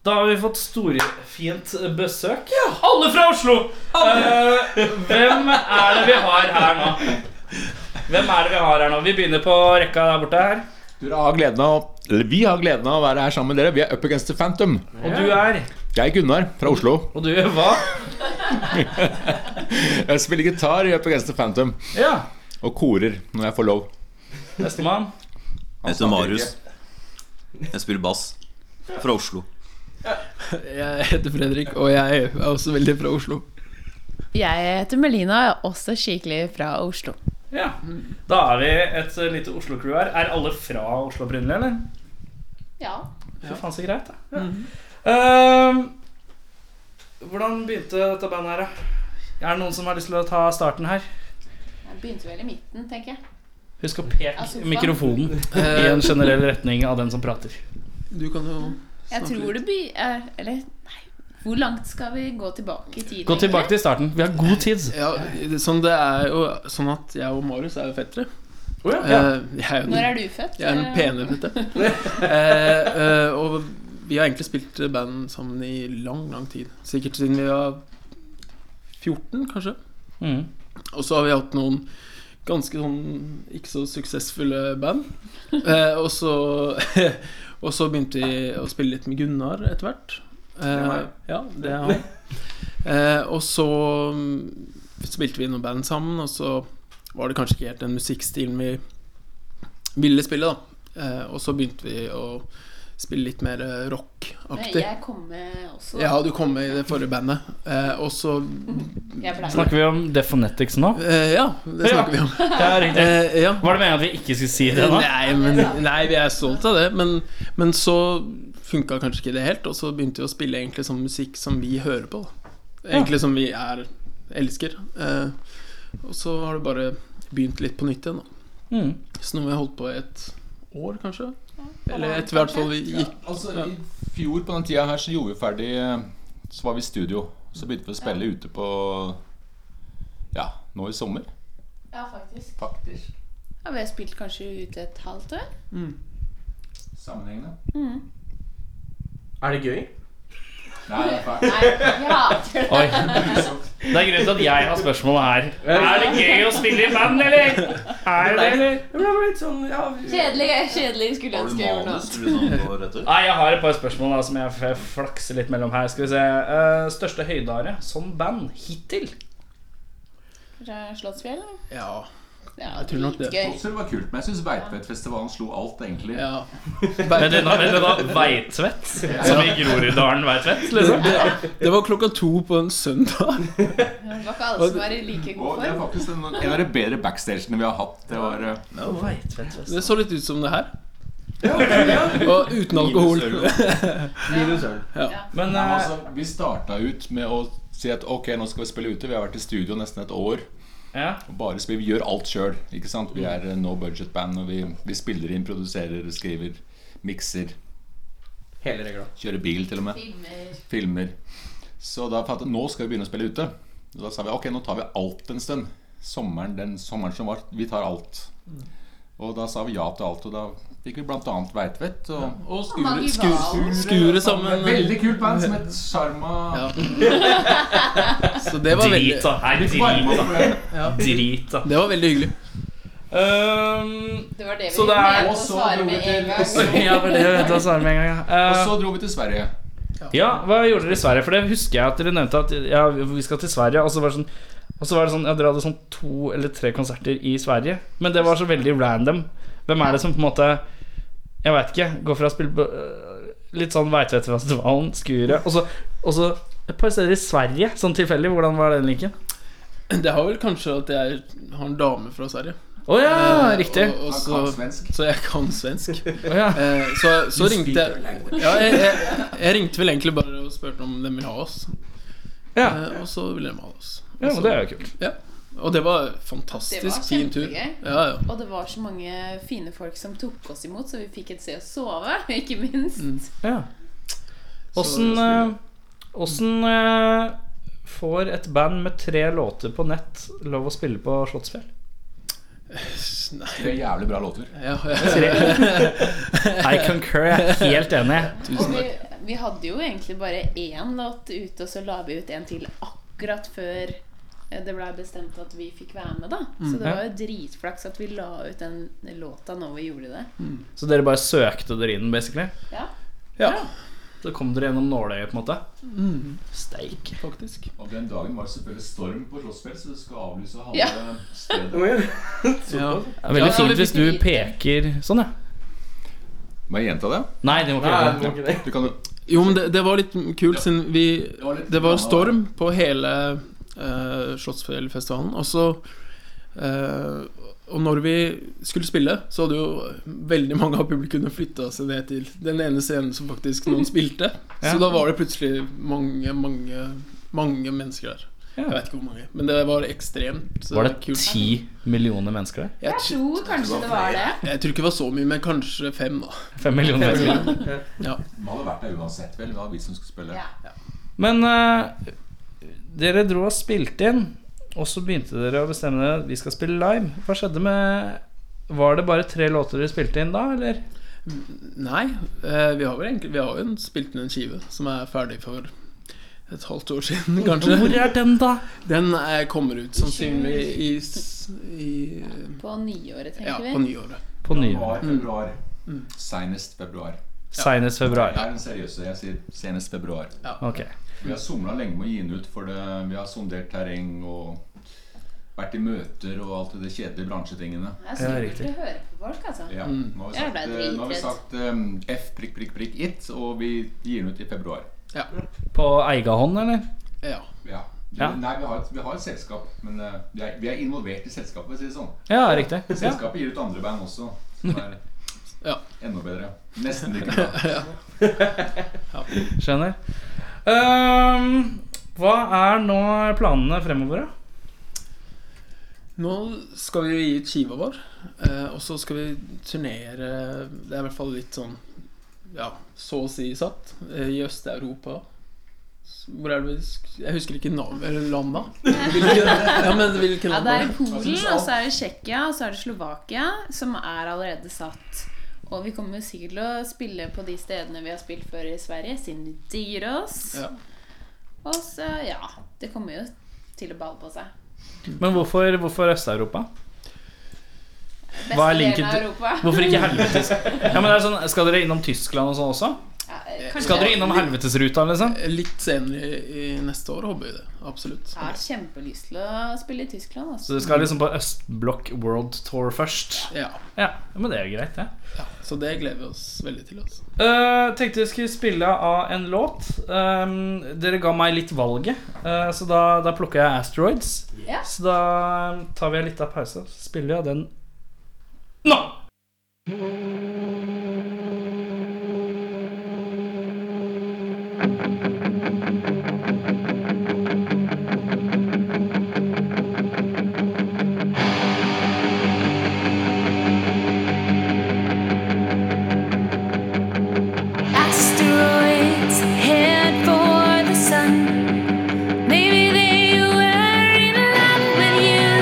Da har vi fått storfint besøk. Alle fra Oslo! Eh, hvem er det vi har her nå? Hvem er det vi har her nå? Vi begynner på rekka der borte her. Dere har gleden av, eller vi har gleden av å være her sammen med dere. Vi er up against the phantom. Og du er Jeg er Gunnar fra Oslo. Og du gjør hva? <laughs> Jeg spiller gitar i up against the phantom Ja. og korer når jeg får lov. Nestemann. Jeg heter Marius. Jeg spiller bass. Fra Oslo. Jeg heter Fredrik, og jeg er også veldig fra Oslo. Jeg heter Melina, og jeg er også skikkelig fra Oslo. Ja. Da er vi et eh, lite Oslo-crew her. Er alle fra Oslo opprinnelig, eller? Ja. Fy faen, så greit, da. Ja. Mhm. Ehm, hvordan begynte dette bandet her, da? Er det noen som har lyst til å ta starten her? Jeg begynte vel i midten, tenker jeg. Husk å peke Altså, faen. mikrofonen Eh. i en generell retning av den som prater. Du kan jo Jeg tror det blir er- Eller nei, hvor langt skal vi gå tilbake i tid? Gå tilbake til starten. Vi har god tid. Ja, det- sånn det er jo sånn at jeg og Marius er jo fettere. Eh, Jeg er jo Når den, er du født? jeg er den pene <laughs> fette. Eh, eh, og vi har egentlig spilt band sammen i lang, lang tid. Sikkert siden vi var 14, kanskje. Mm. Og så har vi hatt noen ganske sånn ikke så suksessfulle band. Eh, og, så, <laughs> og så begynte vi å spille litt med Gunnar etter hvert. Eh, ja, det er han. Eh, og så mm, spilte vi noen band sammen, og så var det kanskje ikke helt den musikkstilen vi ville spille, da. Eh, og så begynte vi å spille litt mer eh, Men rockaktig. Jeg kom med også. Ja, du kom med i det forrige bandet. Eh, og så Jeg ble Snakker vi om Defonetics nå? eh, Ja, det Ja. snakker vi om. Ja, riktig. <laughs> Eh, ja. Var det meningen at vi ikke skulle si det nå? Nei, men, nei, vi er stolt av det, men, men så funka kanskje ikke det helt. Og så begynte vi å spille egentlig sånn musikk som vi hører på. Da. Egentlig som vi er elsker. Eh, og så har det bare begynt litt på nytt igjen. Da. Mm. Så nå har vi holdt på i et år, kanskje. Eller halvannet, et, i hvert fall vi gikk Altså, I fjor på den tida her så gjorde vi ferdig eh, Så var vi i studio. Så begynte vi å spille ute på Ja, nå i sommer. Ja, faktisk. Faktisk. Ja, vi har spilt kanskje ute et halvt år. Sammenhengende. Er det gøy? Nei, det er fælt. Nei, jeg hater det. Oi. Det er grunnen til at jeg har spørsmål her. Er det gøy å spille i band, eller? Er det, eller? Men det var litt sånn, ja vi... Kjedelig, kjedelig skulle jeg Har du ønske jeg gjorde noe. manus? Tror du noen går etter? Nei, jeg har et par spørsmål da, som jeg f- flakser litt mellom her. Skal vi se. Eh, største høydare som band hittil? Fra Slottsfjell? eller? Ja. Ja, Jeg tror nok det. dritgøy. Også det var kult, men jeg syns Veitvetfestivalen slo alt, egentlig. ja. Vet du da, vet du da Veitvet? Som i Groruddalen Veitvet, liksom? Det, det var klokka to på en søndag. Det var ikke alle som var i like god Og det er form. faktisk en, en av de bedre backstagene vi har hatt. Det var eh, Det så litt ut som det her. <laughs> Og uten alkohol. Men Nei, men eh, altså, vi starta ut med å si at ok, nå skal vi spille ute. Vi har vært i studio nesten et år. ja. Og bare spiller, Vi gjør alt sjøl. Vi er eh, no budget band, og vi, vi spiller inn, produserer, skriver, mikser. Hele regla. Kjører bil, til og med. Filmer. Filmer. Så da fant jeg nå skal vi begynne å spille ute. Og da sa vi ok, nå tar vi alt en stund. Sommeren, den sommeren som var. Vi tar alt. Og da sa vi ja til alt, og da fikk vi bl.a. Veitvet. Og Og Mange skure, valg. skure, skure sammen. Veldig kult band som het Sjarma <laughs> Ja. Så det var Drit, veldig da. Nei, drit, da. Drit, da. Det var veldig hyggelig. Ehm, Det var det vi Så det er- mente Og å så svare dro vi med til- en gang. <laughs> ja, det var det jeg vet å svare med en gang. ja. Og Eh, så dro vi til Sverige. ja, hva gjorde dere i Sverige? For det husker jeg at dere nevnte at ja, vi skal til Sverige. Og så var det sånn og så var det sånn, ja, Dere hadde sånn to eller tre konserter i Sverige. Men det var så veldig random. Hvem er det som på en måte Jeg veit ikke. Går fra å spille på, øh, litt sånn Veitvetfestivalen, Skuret og så, og så et par steder i Sverige. Sånn tilfeldig. Hvordan var den linken? Det har vel kanskje at jeg har en dame fra Sverige. Å ja, Eh, riktig. Han Og, og kan så, svensk. så jeg kan svensk. <laughs> Å ja. Eh, Så, så ringte jeg ja, jeg, jeg, jeg ringte vel egentlig bare og spurte om de ville ha oss. Ja. Eh, Og så ville de ha oss. ja, men det er jo kult. Ja. Og det var Det var fantastisk fin tur. kjempegøy. Ja, ja. Og det var så mange fine folk som tok oss imot, så vi fikk et sted å sove, <laughs> ikke minst. Ja. Åssen eh, Åssen eh, får et band med tre låter på nett lov å spille på Slottsfjell? Nei, Tre jævlig bra låter. <laughs> ja, ja. I concur, jeg er helt enig. Og vi, vi hadde jo egentlig bare én låt ute, og så la vi ut en til akkurat før eh, det blei bestemt at vi fikk være med, da. Så Mhm. det var jo dritflaks at vi la ut den låta når vi gjorde det. Så dere bare søkte dere inn, basically? Ja. Mm. Ja. Så kom dere gjennom nåløyet, på en måte? Steik. faktisk. Og den dagen var det selvfølgelig storm på Slottsfjell, så du skulle avlyse halve Ja. <laughs> stedet. Ja. Det er veldig Ja, vi fint hvis du fikk peker sånn, ja. Må jeg gjenta det? Nei, det må ikke gjøre. Du kan jo Jo, men det, det var litt kult, siden vi var litt Det var blandet. storm på hele eh, Slottsfjellfestivalen. Og så eh, Og når vi skulle spille, så hadde jo veldig mange av publikum flytta seg ned til den ene scenen som faktisk noen <laughs> spilte. Så da var det plutselig mange, mange, mange mennesker der. Jeg vet ikke hvor mange, men det var ekstremt eh, Var det kult. ti millioner mennesker der? Jeg, Jeg tr- tror kanskje det var det. jeg tror ikke det var så mye, men kanskje fem, da. Fem millioner mennesker. Man hadde vært der uansett, vel. Det var vi som skulle spille. Ja. Men eh, dere dro og spilte inn, og så begynte dere å bestemme dere at vi skal spille live. Hva skjedde med Var det bare tre låter dere spilte inn da, eller? Nei, eh, vi har vel egentlig Vi har jo en, spilt inn en skive som er ferdig for et halvt år siden, kanskje. Hvor er den, da? Den eh, kommer ut sannsynlig i, s- i På nyåret, Ja, tenker på vi. nyåret. På nyåret. Januar, februar. Senest februar. Seinest februar. Jeg er den seriøse. Jeg sier senest februar. Ok. Vi har somla lenge med å gi den ut, for det, vi har sondert terreng og vært i møter og alt det der kjedelige bransjetingene. Det er Ja, skummelt riktig. å høre på folk, altså. Ja, Mm. nå har vi Jeg sagt, ble eh, nå har vi dritredd. sagt eh, F prikk, prikk, prikk it, og vi gir den ut i februar. Ja. På eiga hånd, eller? ja. Ja. Ja. Nei, vi har, et, vi har et selskap, men eh, vi er, vi er involvert i selskapet, for å si det sånn. Ja, riktig. Ja. Selskapet gir ut andre band også, som <laughs> er Ja. enda bedre. Nesten <laughs> like bra. Skjønner. Ehm, hva er nå planene fremover, da? Nå skal vi gi ut skiva vår, eh, og så skal vi turnere Det er i hvert fall litt sånn Ja, så å si satt. eh, I Øst-Europa. S- Hvor er det vi sk- Jeg husker ikke navnet eller <laughs> landa. Hvilke, ja, men hvilke Ja, navn det var er det? Altså, Polen, altså. og så er det Tsjekkia, og så er det Slovakia, som er allerede satt. Og vi kommer jo sikkert til å spille på de stedene vi har spilt før i Sverige, siden de digger oss. Ja. Og så, ja Det kommer jo til å balle på seg. Men hvorfor, hvorfor Øst-Europa? Beste Hva er linken delen av Europa. Hvorfor ikke helvetes? Ja, men det er sånn, Skal dere innom Tyskland og sånn også? Ja, kanskje- Skal dere innom helvetesruta, liksom? Litt senere i, i neste år håper vi det. Absolutt. Jeg har kjempelyst til å spille i Tyskland. Altså. Så du skal liksom på Østblokk World Tour først? Ja, Ja, men det er jo greit, det. Så det gleder vi oss veldig til. Altså. Eh, tenkte vi skulle spille av en låt. Eh, dere ga meg litt valget, eh, så da, da plukka jeg Asteroids. Ja. Så da ehm, tar vi en liten pause, så spiller vi av den nå! Asteroids head for the sun. Maybe they were in love with you,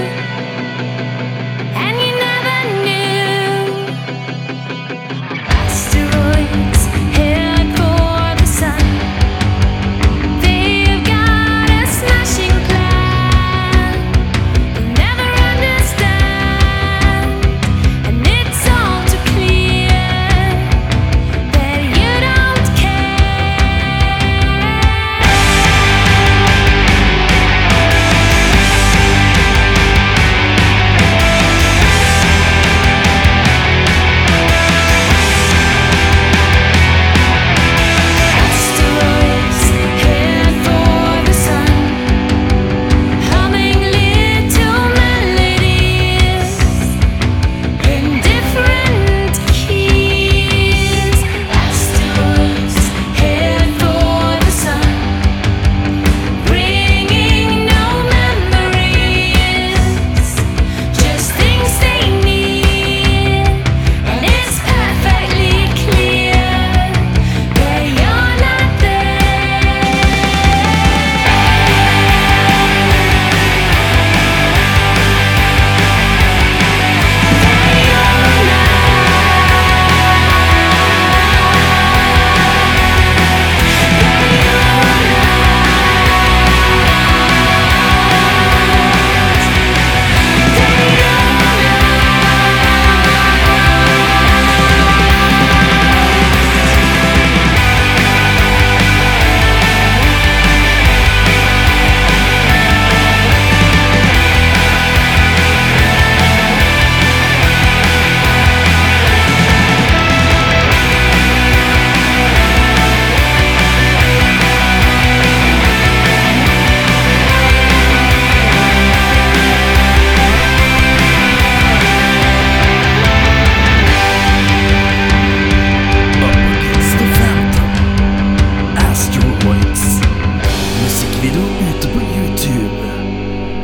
and you never knew.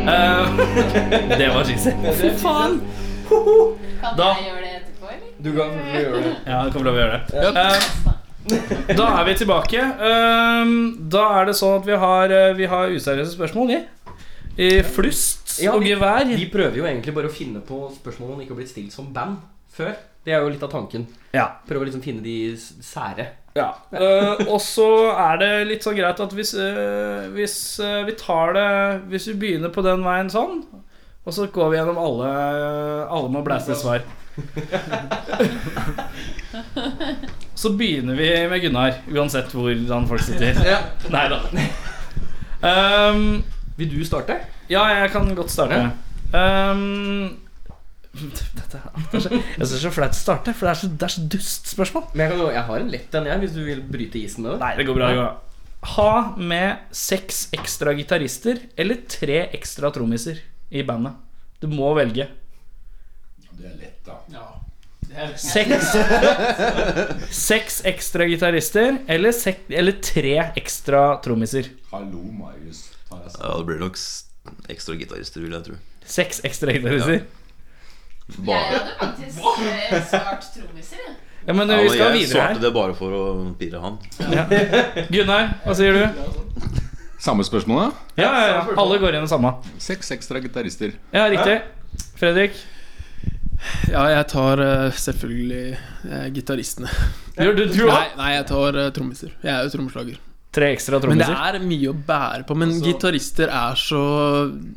Eh, <laughs> Det var skissen. Fy faen! Kan Da- jeg gjøre det etterpå, eller? Du kan gjøre det. Ja, det kan bli lov å gjøre det. Eh, da er vi tilbake. Ehm, da er det sånn at vi har, eh, vi har useriøse spørsmål, vi. I flust Ja, og vi- gevær. De prøver jo egentlig bare å finne på spørsmål man ikke har blitt stilt som band før. Det er jo litt av tanken. Ja. Prøve å liksom finne de s- sære. Ja. Eh, og så er det litt sånn greit at hvis, eh, hvis eh, vi tar det Hvis vi begynner på den veien sånn, og så går vi gjennom alle Alle må blæste svar. så begynner vi med Gunnar, uansett hvordan folk sitter. Ja. Nei da. Vil du starte? ja, jeg kan godt starte. Um, <laughs> dette er, det er så, jeg syns det er så flaut å starte, for det er så, det er så dust spørsmål. Men jeg, kan, jo- jeg har en lett en, jeg, hvis du vil bryte isen med det. Nei, det går bra. det går bra. Ha med seks ekstra gitarister eller tre ekstra trommiser i bandet. Du må velge. Det er lett, da. Seks Seks ekstra gitarister eller, sek, eller tre ekstra trommiser. Hallo, Marius. Tar jeg Ja, det blir nok s- ekstra gitarister, vil jeg tro. Seks ekstra gitarister. Bare. Jeg hadde faktisk eh, svart trommiser, jeg. Ja, men Ja, vi men skal jeg videre svarte her. det bare for å pirre han. Gunnar, hva sier du? <laughs> Samme spørsmål, da? Ja, ja, ja. Alle går igjen det samme. Seks ekstra gitarister. Ja, riktig. Fredrik, Ja, jeg tar eh, selvfølgelig eh, gitaristene. gjør du tror Nei, nei, jeg tar eh, trommiser. Jeg er jo trommeslager. Tre ekstra Men det trommiser. er mye å bære på. Men gitarister er så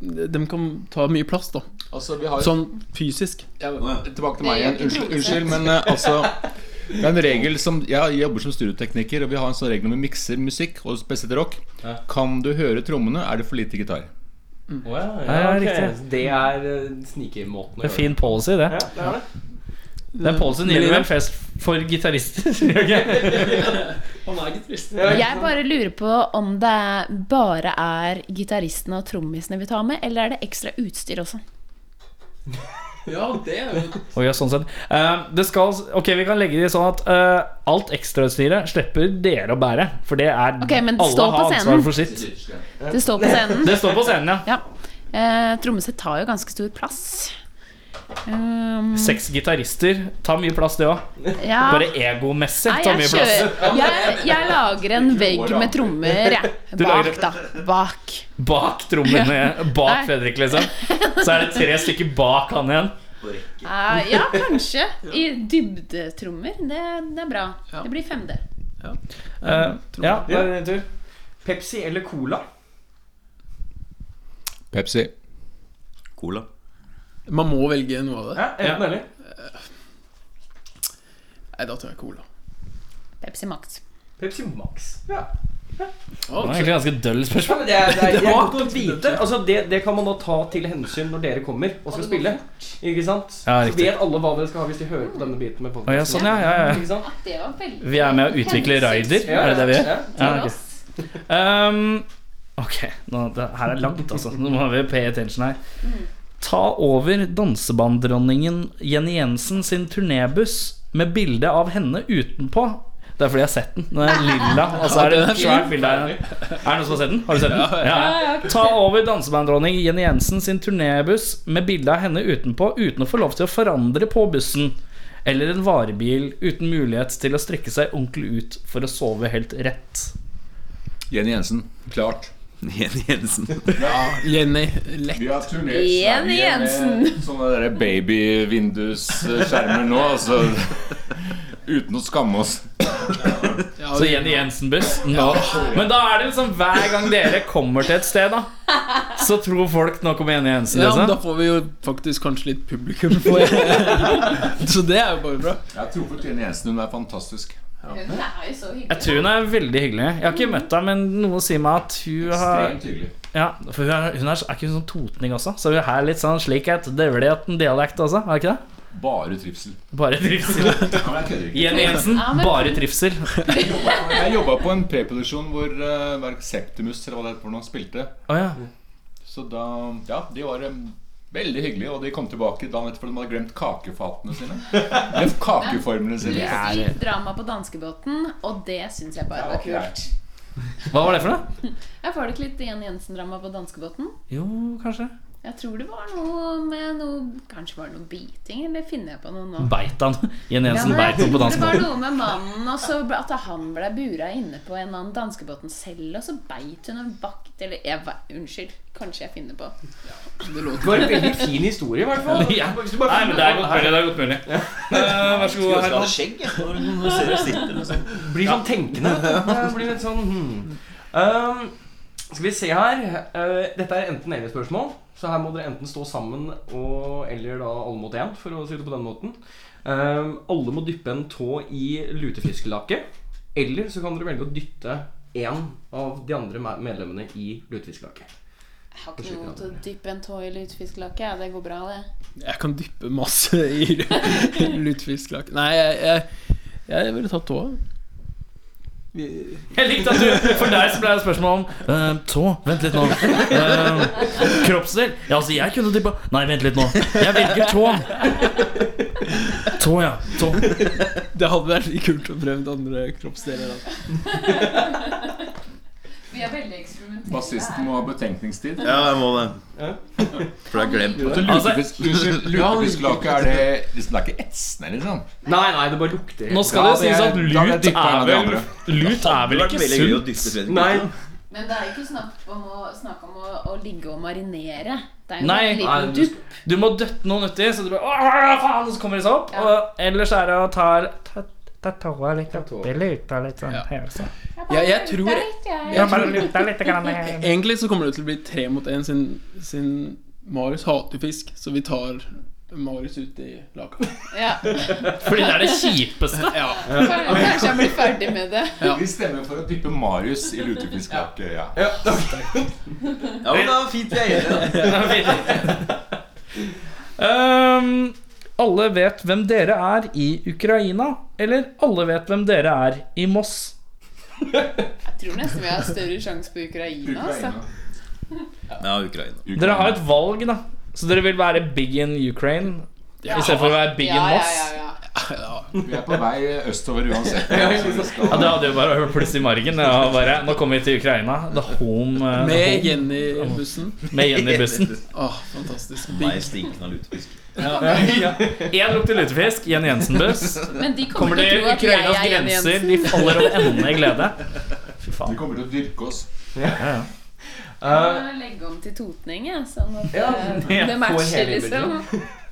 De kan ta mye plass, da. Altså, vi har Sånn fysisk. Ja, tilbake til Det meg gjør igjen. ikke Unnskyld, Tore. unnskyld men eh, altså det er en regel som Jeg jobber som studiotekniker, og vi har en sånn regel om vi mikser musikk, og spesielt rock. Kan du høre trommene, er det for lite gitar. Ja, ok. riktig. Det er eh, snikemåten å Det er fin policy, det. Ja, det er det. Den policyen gjelder vel fest for <laughs> gitarister. <laughs> Han er gitarist. Jeg bare lurer på om det er- bare er gitaristene og trommisene vi tar med, eller er det ekstra utstyr også? Ja, det er jo Og ja, sånn sett. Eh, det skal, ok, Vi kan legge det sånn at eh, alt ekstrautstyret slipper dere å bære. For det er Ok, men alle stå på har scenen. ansvar for sitt. Det står på scenen. Det står på scenen, ja. Ja. Eh, Trommiser tar jo ganske stor plass. Um, Seks gitarister tar mye plass, det òg. ja. Bare egomessig Nei, tar jeg, mye plass. kjører, <laughs> jeg, jeg lager en vegg med <laughs> trommer, jeg. lager- Bak, da. Bak. <laughs> Bak trommene, bak Nei. Fredrik, liksom. Så er det tre stykker bak han igjen. Eh, ja, kanskje. I dybdetrommer. Det, det er bra. Det blir 5D. Eh, ja, da er det din tur. Pepsi eller Cola? Pepsi. Cola. Man må velge noe av det. Eh, Ja, Enten eller. Nei, da tar jeg cola. Pepsi Max. Pepsi Max. Ja. Det var egentlig ganske døll spørsmål. Ja, men det er, <laughs> <laughs> det er, det er godt å vite. Altså, det, det kan man da ta til hensyn når dere kommer og skal spille. Ikke sant? så Ja, riktig. vet alle hva dere skal ha hvis de hører på denne biten med Å, ja, podcasten. sånn, ja, ja, ja. Ikke sant? Det var veldig Vi er med å utvikle raider, er det det vi gjør? Ja. Ja, ok. Ehm, ok, nå, det her er langt, altså. Nå må vi pay attention her. Ta over dansebanddronningen Jenny Jensen sin turnébuss med bilde av henne utenpå. Det er fordi jeg har sett den. Den er lilla. <laughs> Og så Altså, er det et svært bilde av henne. Er det noen som har sett den? Har du sett den? Ja, ja. Ta over dansebanddronning Jenny Jensen sin turnébuss med bilde av henne utenpå uten å få lov til å forandre på bussen. Eller en varebil uten mulighet til å strekke seg ordentlig ut for å sove helt rett. Jenny Jensen. Klart. Jenny Jensen. Jenny, lett. Vi har turnert Jenny Sverige med <laughs> Jensen. sånne derre baby-vindusskjermer nå, altså. Uten å skamme oss. Ja, Så Jenny Jensen-buss? No. Men da er det liksom hver gang dere kommer til et sted, da så tror folk nå kommer Jenny Jensen. ja, men da Liksom. får vi jo faktisk kanskje litt publikum. For så det <laughs> er jo bare bra. Jeg har truffet Jenny Jensen. Hun er fantastisk. Hun er jo så Jeg hyggelig. tror hun er veldig hyggelig. Jeg har ikke møtt henne, men noe sier meg at hun har Ekstremt hyggelig. ja, For hun er, hun er, er ikke hun sånn totning også? Så hun er litt sånn slikhet, døvlighet, en dialekt også? Er det ikke det? Bare trivsel. Bare <laughs> trivsel. Ja, men Jeg kødder ikke. Jenny Jensen, Ja, men- bare trivsel. Jeg jobba på en preproduksjon hvor eh, hver Septimus eller hva det heter for noe, spilte. Å ja. Så da, ja, de var eh, veldig hyggelige, og de kom tilbake dagen etter for de hadde glemt kakefatene sine. Glemt kakeformene sine. Litt drama på danskebåten, og det syns jeg bare var kult. Hva var det for noe? Jeg får det ikke litt Jenny Jensen-drama på danskebåten? Jo, kanskje. Jeg Jeg tror det var noe med noe Kanskje var det noe biting, eller finner jeg på noe nå? Beit han. Jen Ja, Jensen men beit han på Det var danskebåten. noe med mannen, og så ble- at han ble bura inne på en eller annen danskebåten selv, og så beit hun en vakt Eller jeg, ve- unnskyld, kanskje jeg finner på. Det var en <laughs> veldig fin historie, i hvert fall. Ja. Nei, men det er godt mulig. Det er godt mulig. Eh, vær så Skulle ønske god, jeg Herman. hadde skjegg. jeg, Når når du ser det sitter med sånn. Blir sånn tenkende. <laughs> vet du. Jeg Blir litt sånn hmm. um, Skal vi se her. Uh, dette er enten eller-spørsmål. Så her må dere enten stå sammen og eller da alle mot én, for å si det på den måten. Um, alle må dyppe en tå i lutefisklake. Eller så kan dere velge å dytte én av de andre me- medlemmene i lutefisklake. Jeg har ikke noe til å dyppe en tå i lutefisklake. Ja, det går bra, det. Jeg kan dyppe masse i <laughs> lutefisklake. Nei, jeg, jeg, jeg ville tatt tåa. Jeg likte at du, For deg så ble det spørsmål om eh, tå. Vent litt nå. Eh, kroppsdel? Ja, altså, jeg kunne tippa Nei, vent litt nå. Jeg velger tå. Tå, ja. Tå. <laughs> Det hadde vært litt kult å prøve andre kroppsdeler. da. Vi er veldig eksperimentelle. Bassisten må ha betenkningstid. Ja, jeg må det. For jeg har glemt det. Altså, Lutefisk- Unnskyld, Lutefisklake, er det liksom, Det er ikke etsende, liksom? Nei, nei, det bare lukter. Nå skal det jo sies Da at hadde jeg lut dyppet en er av de vel andre. Lut Det er vel ikke hadde vært veldig gøy å sunt? dytte Fredrik. Nei, Men det er jo ikke snakk om å, snakk om å, å ligge og marinere. Det er jo Nei. en Nei, liten du- dupp. Du må døtte noen uti, så du bare Åh, faen, så kommer de seg opp. Ja. Og ellers er det å ta ta- Ta tåa litt tåa. oppi luta litt sånn. her, så. Ja, jeg tror- jeg, Ja, bare luta litt <laughs> grann her. Egentlig så kommer det til å bli tre mot én, siden, siden Marius hater fisk, så vi tar Marius ut i laka. ja. Fordi det er det <laughs> kjipeste. Kanskje jeg blir ferdig med det. Vi stemmer for å dyppe Marius i lutefisklake. Ja. Ja, men det var fint vi er <laughs> enige. Ehm, alle vet hvem dere er i Ukraina, eller alle vet hvem dere er i Moss. Jeg tror nesten vi har større sjanse på Ukraina. Altså. Ukraina. da. Ja, Ukraina. Dere har et valg, da. Så dere vil være big in Ukraine i stedet for å være big Ja, in ja, Moss. ja, ja. Vi er på vei østover uansett. Ja, Det hadde jo bare vært pluss i margen. Ja, bare, nå kommer vi til Ukraina. The home eh, Med the Jenny-bussen. home. med Jenny i <laughs> bussen. Åh, Ah, fantastisk. Meg stinken av lutefisk. <laughs> Én lukter lutefisk, Jenny Jensen-buss. Men de kommer, Kommer til til å tro at jeg Ukrainas er Jenny grenser. Jensen. De faller over ende i glede. Fy Vi faen. kommer til å dyrke oss. Jeg eh, må legge om til Totning, jeg. Sånn at Ja, eh, det det får matcher, hele liksom. <laughs>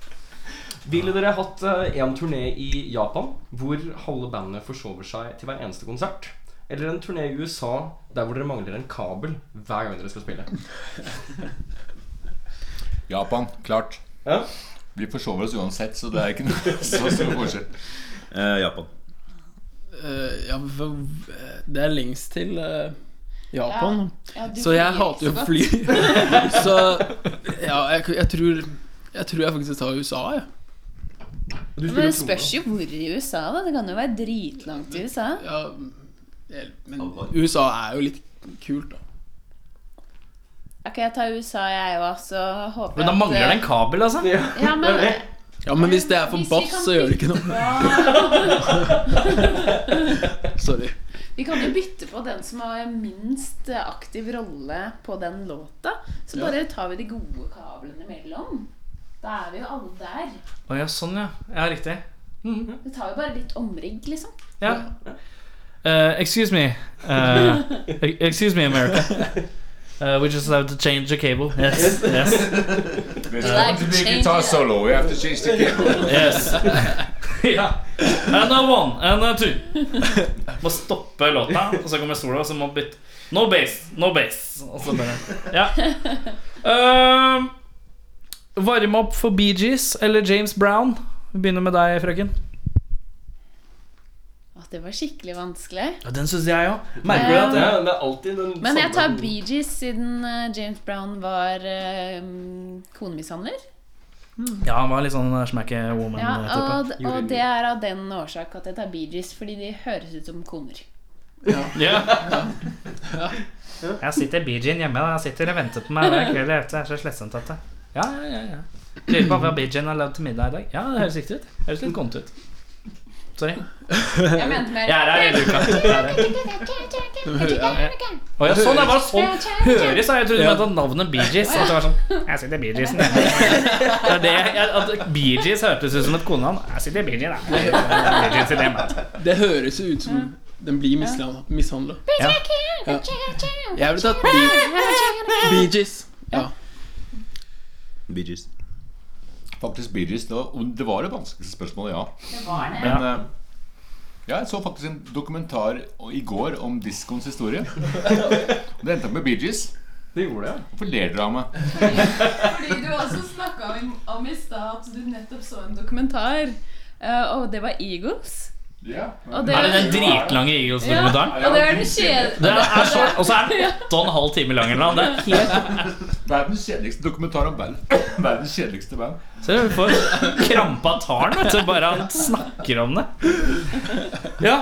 Ville dere hatt eh, en turné i Japan hvor halve bandet forsover seg til hver eneste konsert? Eller en turné i USA der hvor dere mangler en kabel hver gang dere skal spille? Japan, klart. Ja. Vi forsover oss uansett, så det er ikke noe <laughs> så stor forskjell. Eh, Japan. Eh, ja, hva- eh, det er lengst til eh, Japan. Ja, du Så jeg flyr hater jo ikke å så <laughs> fly. Så ja, jeg, jeg tror Jeg tror jeg faktisk tar USA, jeg. Du godt. Men det spørs jo hvor i USA, da. Det kan jo være dritlangt i USA. Ja, jeg- men USA er jo litt kult, da. Ok, jeg tar USA, jeg òg, så håper Men da mangler det en kabel, altså. Ja, <laughs> men Ja, Men hvis det er for Hvis vi bass, kan så gjør det ikke noe. Sorry. Vi kan jo bytte på den som har minst aktiv rolle på den låta. Så bare tar vi de gode kablene imellom. Da er vi jo alle der. Å ja, sånn, ja. Ja, riktig. Det tar jo bare litt omrigg, liksom. Mhm. Ja. Uh, excuse me. Uh, <laughs> e- excuse me, America. Uh, we just have to change the cable. Yes. Yes. Uh, Hvis Like du change- blir guitar solo, we have to change the game. <laughs> <laughs> yes. ja. And a one, and a <laughs> two. Må stoppe låta, og så kommer sola, og så må bytte. No bass, no bass. Og så bare Ja. Ehm, varme opp for Bee Gees eller James Brown? Vi begynner med deg, frøken. Å, det var skikkelig vanskelig. Ja, den syns jeg òg. Merker du at det- det er alltid Mm, den Eh, Men jeg tar sånn. samme- Bee Gees siden eh, James Brown var eh, mm, konemishandler. Ja, han var litt sånn smacke Ja, woman-type. og, og det er av den årsak at jeg tar Bee Gees, fordi de høres ut som koner. Ja. Jeg sitter i BG-en hjemme. da. Jeg sitter og venter på meg hver kveld. Jeg vet, det er så slitsomt at det Ja, ja, ja. ja. Lurer på hva BG-en har lagd til middag i dag. Ja, det høres riktig ut. Høres litt kånt ut. Sorry. Jeg mente mer Jeg er her hele uka. Jeg er her. De hører, ja. Å ja, sånn, det var sånn Høres, ja. Jeg trodde du mente at navnet Bee Gees. At det var sånn Jeg sitter i Bee Geesen, jeg. Det er det jeg- At Bee Gees hørtes ut som et konenavn. Jeg sitter i Bee Gees, jeg. Jeg sitter i Bee Gees i det, jeg. Det høres jo ut som den blir mishandla. Ja. Jeg ville tatt Bee- Bee Gees. Ja. Bee Gees. Faktisk Bee Gees. Det var, det var det vanskeligste spørsmålet, ja. Ja. Men eh, ja, jeg så faktisk en dokumentar o- i går om diskoens <laughs> historie. Og det endte opp med Bee Gees. Det gjorde jeg. Hvorfor ler dere av meg? <laughs> Fordi du også snakka om, om i stad at du nettopp så en dokumentar. eh, og det var Eagles. Ja, Og det Er det den dritlange Eagles-dokumentaren? Ja, og det er den kjedelige Det er så, og så er den åtte og en halv time lang eller noe. Det er helt Verdens kjedeligste dokumentar om band. Verdens kjedeligste band. Se, du får krampa taren vet du, bare han snakker om det. Ja.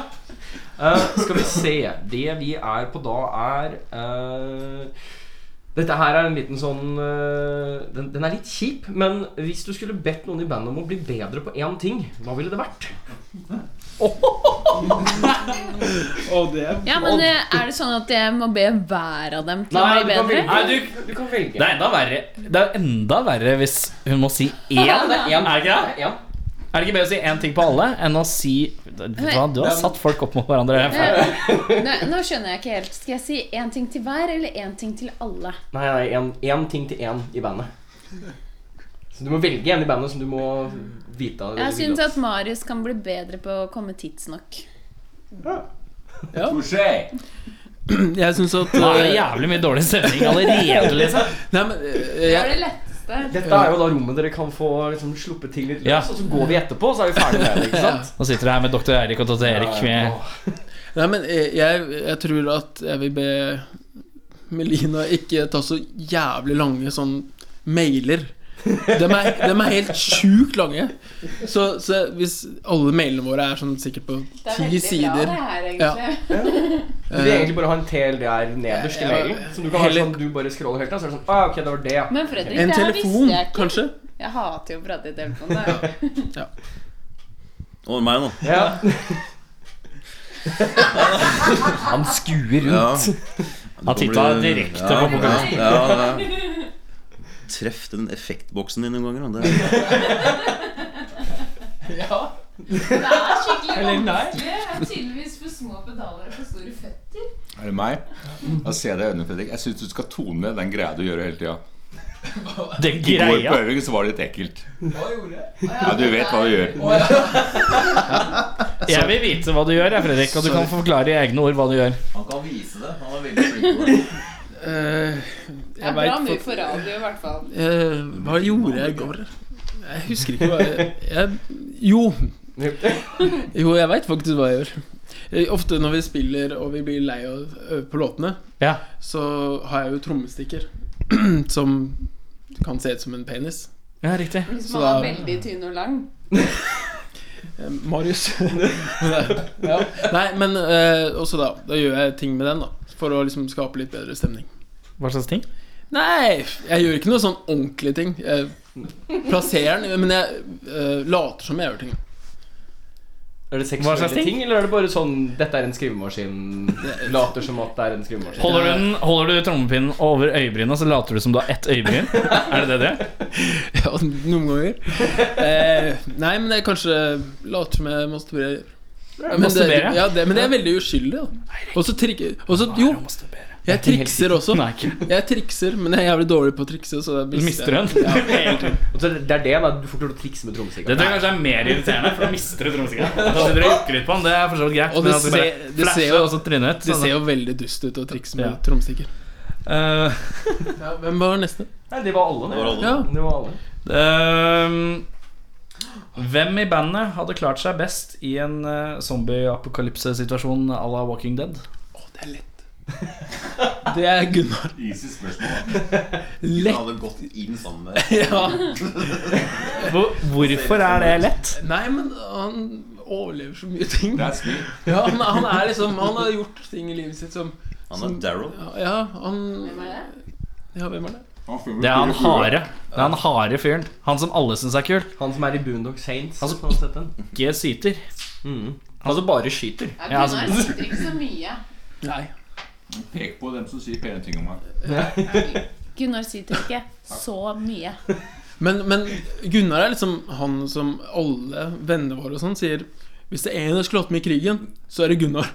Eh, skal vi se. Det vi er på da, er eh, Dette her er en liten sånn eh, den, den er litt kjip, men hvis du skulle bedt noen i bandet om å bli bedre på én ting, hva ville det vært? <laughs> Og det er Ja, men eh, er det sånn at jeg må be hver av dem til å Nei, du kan bli bedre? velge. Nei, du, Du kan det velge. er enda verre Det er enda verre hvis hun må si én. Er Ja, det det er ikke det? Ja. Er det ikke bedre å si én ting på alle enn å si Vet Du hva, du har satt folk opp mot hverandre. Eh, Nå, nå skjønner jeg ikke helt. Skal jeg si én ting til hver, eller én ting til alle? Nei, nei, en- én ting til én i bandet. Så du må velge en i bandet som du må vite av. Jeg syns at Marius kan bli bedre på å komme tidsnok. <clears throat> Jeg syns at Nå er det eh, jævlig mye dårlig stemning <laughs> allerede, liksom. Nei, men eh, Det jeg, var det letteste. Dette er jo da rommet dere kan få liksom, sluppet til litt løs, Ja. og så går vi etterpå, og så er vi ferdig med det. ikke sant? Nå sitter du her med doktor Eirik og doktor Erik. Med, Nei, men jeg, jeg, jeg tror at jeg vil be Melina ikke ta så jævlig lange sånn mailer. De er, dem er helt sjukt lange. Så, så hvis alle mailene våre er sånn sikkert på Det er ti veldig bra, sider det her, egentlig. Du vil <laughs> egentlig bare ha en TLDR nederst i Ja. mailen. Som du kan være Eh, Heller- sånn, du bare scroller helt ned, så er det sånn ah, Ok, det var det, ja. Men Fredrik, En det her telefon, visste jeg ikke. kanskje? Jeg hater jo å prate i telefonen. da. Over meg nå. ja. Han skuer rundt. Ja. Han titta direkte på ja, ja, ja. Treff den effektboksen din noen ganger. da. Det er, Det er skikkelig Eller nei. vanskelig. Jeg er tydeligvis for små pedaler og for store føtter. Er det meg? Da ser jeg deg i øynene, Fredrik. Jeg syns du skal tone ned den greia du gjør hele tida. den I går på greia. øving så var det litt ekkelt. Ja, du vet hva du gjør. Jeg vil vite hva du gjør, jeg, Fredrik. Og du kan forklare i egne ord hva du gjør. han kan vise det. Han er veldig flink på det. <laughs> Eh, Det Jeg er bra veit mye for radio, i hvert fall. Eh, hva gjorde jeg i går? Jeg husker ikke hva jeg, jeg Jo. <laughs> Jo, jeg veit faktisk hva jeg gjør. Eh, Ofte når vi spiller og vi blir lei av å øve på låtene, Ja. så har jeg jo trommestikker <clears throat> som kan se ut som en penis. Ja, riktig. Hvis Så man er da- veldig tynn og lang. Eh, Marius. <laughs> ja. Nei, men eh, også da. Da gjør jeg ting med den, da. For å liksom skape litt bedre stemning. Hva slags ting? Nei, jeg gjør ikke noe sånn ordentlig ting. Jeg plasserer den, men jeg eh, later som jeg gjør ting. Er det Hva seksuelle slags ting? ting? eller er det bare sånn Dette er en skrivemaskin. Later som at det er en skrivemaskin. Holder du, den, holder du trommepinnen over øyebrynet, så later du som du har ett øyebryn? Er det det du gjør? Ja, noen ganger. Eh, nei, men jeg kanskje later som jeg masturberer. Men det, Masturberer? ja, det, men det er veldig uskyldig, da. Og så trikke... og så- Jo, jeg trikser også. Nei, ikke Jeg trikser, men jeg er jævlig dårlig på å trikse. Så det Mister du <laughs> Ja. den? Hele tiden. Og så er det- Det er det, da. Du får ikke lov til å trikse med Det trommestikka. tror jeg kanskje er mer irriterende, for da mister du trommesikeren. Da sitter du og jukker litt på den, det er for så vidt greit. Og <laughs> men det at du bare ser- det ser flasher jo- og så trynet ut. Det sånn ser at- jo veldig dust ut å trikse med Ja. trommestikker. Eh, Ja, hvem var neste? Nei, det var alle. Det var alle. Ja. Det var alle. ehm, hvem i bandet hadde klart seg best i en eh, zombie-apokalypse-situasjon à la Walking Dead? Å, det er lett. Det er Eh, Gunnar. Easy spørsmål. Han Lett. hadde gått inn sammen med <laughs> Ja. Hvor, hvorfor er det lett? Nei, men han overlever så mye ting. Det er smilt. <laughs> Ja, han, han er liksom Han har gjort ting i livet sitt som Han er Daryl. Ja, ja han Hvem er det? Ja, hvem er det? Det er han harde. Det er han harde fyren. Han som alle syns er kul. Han som er i Boondock Saints. Altså, hvis man har sett den. Ikke syter. Mm. Han som bare skyter. Ja, Ja, altså- Gunnar sitter ikke så mye. Nei. Pek på dem som sier pene ting om meg. Gunnar sier ikke så mye. <laughs> Men, men Gunnar er liksom han som alle vennene våre og sånn sier Hvis det er en som skulle hatt med i krigen, så er det Gunnar.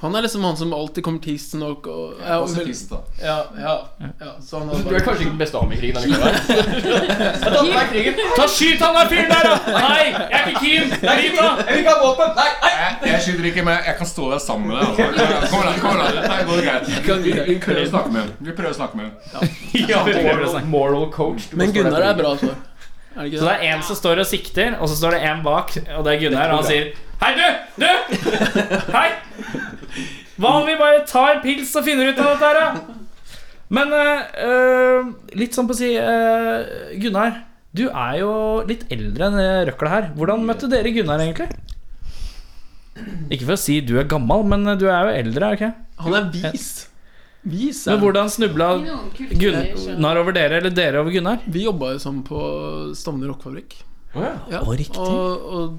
Han er liksom han som alltid kommer tidsnok og, ja, og Pasifist, da. Ja, ja, ja, så han Du er kanskje ikke den beste av meg i krigen <laughs> allikevel? Ta Skyt han der fyren der, da! Nei, jeg er ikke keen! Drit, da! Jeg, jeg skyter ikke, men jeg kan stå der sammen med deg. Altså. Kom igjen, kom igjen. Det går greit. Vi, vi prøver å snakke med ham. Vi prøver å snakke med ham. Ja, Moral, moral coach. Du må Men stå der Gunnar for er bra altså. svar. Er det Så det ikke det? er en som står og sikter, og så står det en bak, og det er Gunnar, og han sier Hei, du! Du! Hei! Hva om vi bare tar en pils og finner ut av dette her, da? Men eh, eh, litt sånn på å si eh, Gunnar, du er jo litt eldre enn det røkla her. Hvordan møtte dere Gunnar, egentlig? Ikke for å si du er gammel, men eh, du er jo eldre. er du ikke? Han er vis. Vis Men er han. hvordan snubla I noen kulturer så- Gunnar over dere, eller dere over Gunnar? Vi jobba jo sammen på Stovner rockefabrikk. Å Ja, Å, riktig. Og, og,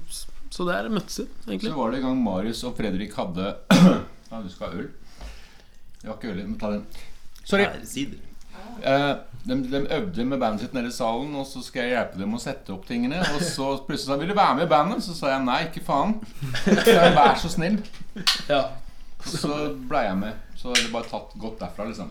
så det er møttes, egentlig. Så var det en gang Marius og Fredrik hadde <clears throat> Ja, du skal ha øl? Det var ikke øl, men ta den. Sorry. Eh, de, de øvde med bandet sitt nede i salen, og så skal jeg hjelpe dem å sette opp tingene. Og så plutselig sa han 'Vil du være med i bandet?' Så sa jeg nei, ikke faen. Så jeg, Vær så snill. Ja. Så blei jeg med. Så det bare tatt godt derfra, liksom.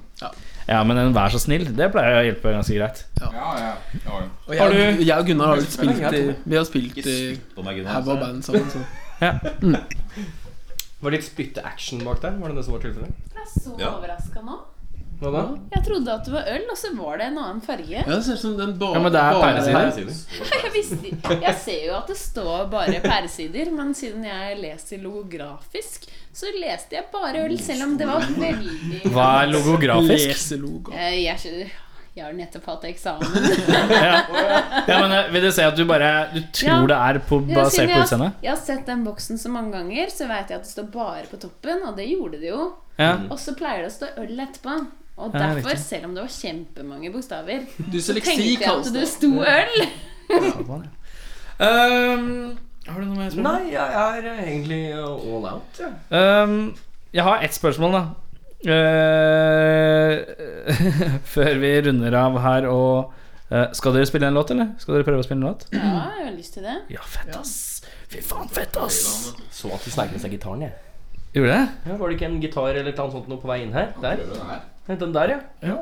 Ja, men en vær så snill, det pleier å hjelpe ganske greit. Ja, ja, ja. Og jeg, Har du- jeg og Gunnar har litt spilt i Vi har spilt i På meg, Gunnar. haug av band sammen. Så. Mm. Var det litt spytte-action bak der? Var det det som var tilfellet? Jeg er så Ja. overraska nå. Hva da? Jeg trodde at det var øl, og så var det en annen farge. Ja, det ser ut som den ba Ja, men det er bare- pæresider. <laughs> Jeg, visste, jeg ser jo at det står bare pæresider, men siden jeg leser logografisk, så leste jeg bare øl, selv om det var veldig Hva er logografisk? Leselogo. Eh, Jeg, skjø- jeg har nettopp hatt eksamen. Ja. ja, men eh, Vil det si at du bare Du tror Ja. det er på, Ja, basert siden på jeg- utseendet? Jeg har sett den boksen så mange ganger, så veit jeg at det står bare på toppen, og det gjorde det jo. Ja. Og så pleier det å stå øl etterpå. Og Ja, derfor, riktig. selv om det var kjempemange bokstaver, så tenkte Dysleksi jeg kalles at det. det sto øl. Ehm, har du noe mer spørsmål? Nei, jeg er egentlig uh, all out, jeg. Ehm, jeg har ett spørsmål, da. Eh, <laughs> før vi runder av her og eh, Skal dere spille en låt, eller? Skal dere prøve å spille en låt? Ja, jeg har lyst til det. Ja, fett, ass. Fy faen, fett, ass. Så at de sneik seg gitaren, jeg. Gjorde det? Ja, var det ikke en gitar eller et eller annet sånt noe på vei inn her? Der? Ja, Den der, ja.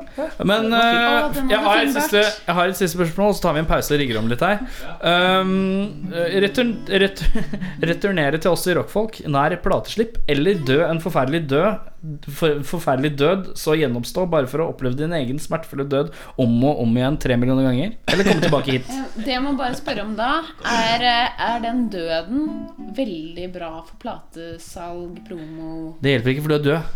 Men eh, Å, den var jeg, har et fin, siste, Bert. jeg har et siste spørsmål, så tar vi en pause og rigger om litt her. Um, eh, retur, retur, <laughs> returnere til oss i rockfolk nær plateslipp eller dø en forferdelig død, for, forferdelig død, så gjenoppstå bare for å oppleve din egen smertefulle død om og om igjen tre millioner ganger? Eller komme tilbake <laughs> hit? Eh, Det jeg må bare spørre om da, er, eh, er den døden veldig bra for platesalg, promo Det hjelper ikke, for du er død.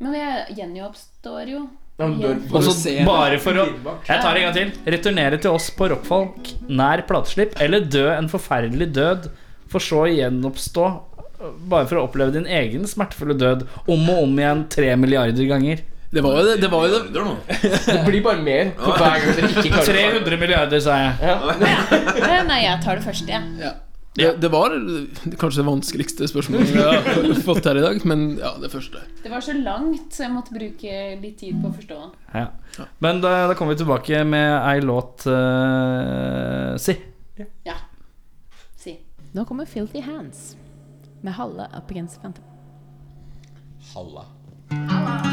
Men jeg gjenjobbstår jo. Og så bare for å Jeg tar det en gang til. Returnere til oss på rockfolk nær plateslipp, eller dø en forferdelig død, for så å gjenoppstå bare for å oppleve din egen smertefulle død om og om igjen tre milliarder ganger. Det var jo det. det, var jo det. Milliarder nå. Det blir <laughs> bare mer for hver gang dere <laughs> ikke klarer 300 milliarder, sa jeg. Eh, Nei, jeg tar det første, jeg. Ja. Det, det var kanskje det vanskeligste spørsmålet jeg har <laughs> fått her i dag, men ja, det første. Det var så langt, så jeg måtte bruke litt tid på å forstå. Ja. Men da, da kommer vi tilbake med ei låt eh, Si. Ja. Si. Nå kommer Filthy Hands med Halle up against Phantom. Halla.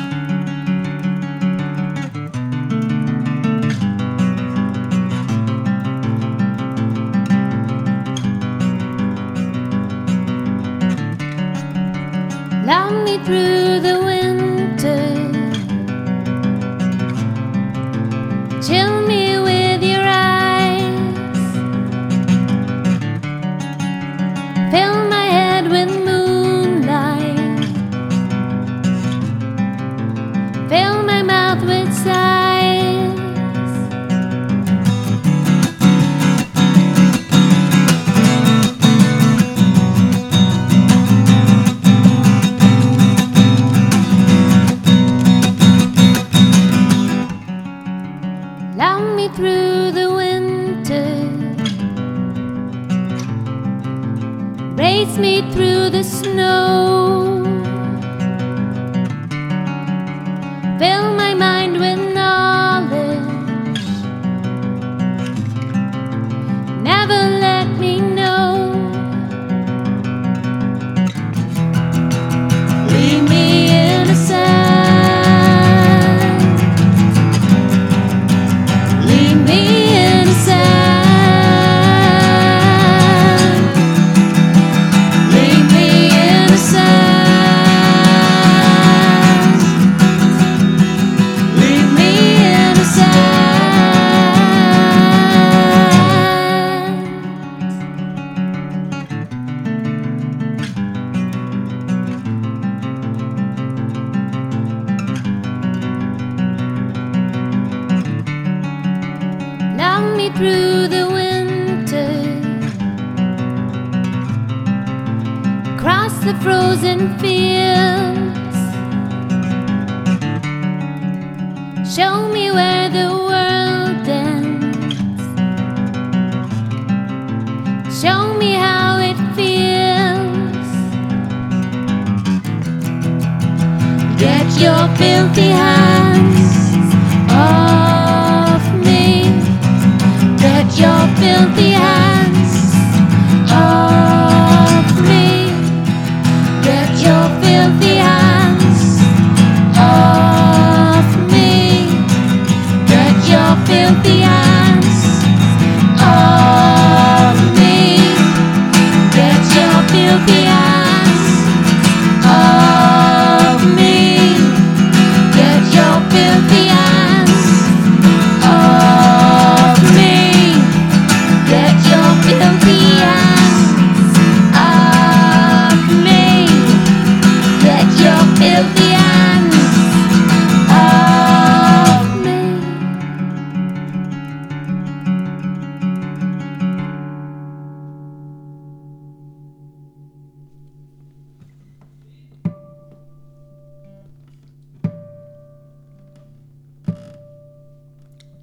Love me through the winter. Chill me with your eyes. Fill my head with moonlight. Fill my mouth with sighs. Love me through the winter. Race me through the snow. Fill my mind with knowledge. Never let me know. Leave me innocent. Leave me innocent. Leave me innocent. Leave me innocent. Love me through the winter. Across the frozen fields. Show me where the world ends. Show me how it feels. Get your filthy hands off me. Get your filthy hands off me. Get your filthy hands off me. Get your filthy hands off me. Get your filthy hands off me. Get your filthy hands of me. Get your filthy hands off me. Get your filthy hands off me.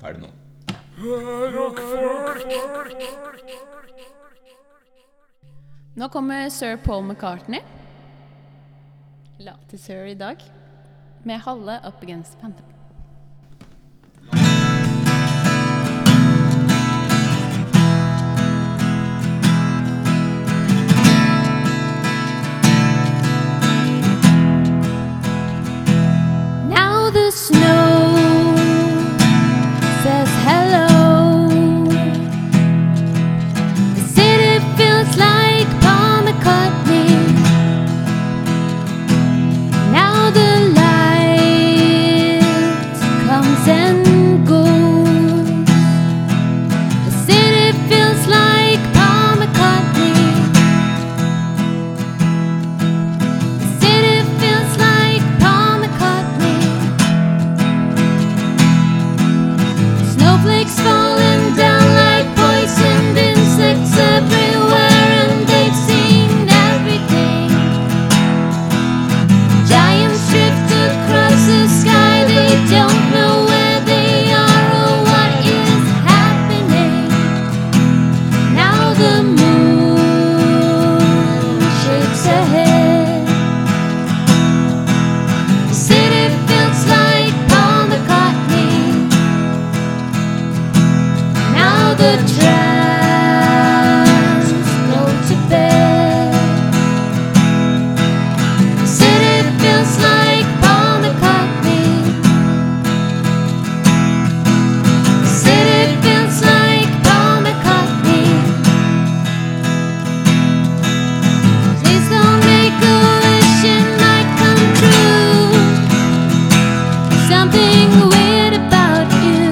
Da er det noen. Nå kommer sir Paul McCartney. Late sir i dag. Med halve Up Against Panther. Now the snow says hello. The city feels like Paul McCartney. Now the light comes and goes. The city feels like Paul McCartney. City feels like Paul McCartney. Snowflakes falling down like poisoned insects everywhere, and they've seen everything. Giants drift across the sky, they don't know where they are or what is happening. Now the moon shakes her head. The city feels like Paul McCartney. Now the trams go to bed. The city feels like Paul McCartney. The city feels like Paul McCartney. Please don't make a wish it might come true. Something weird about you.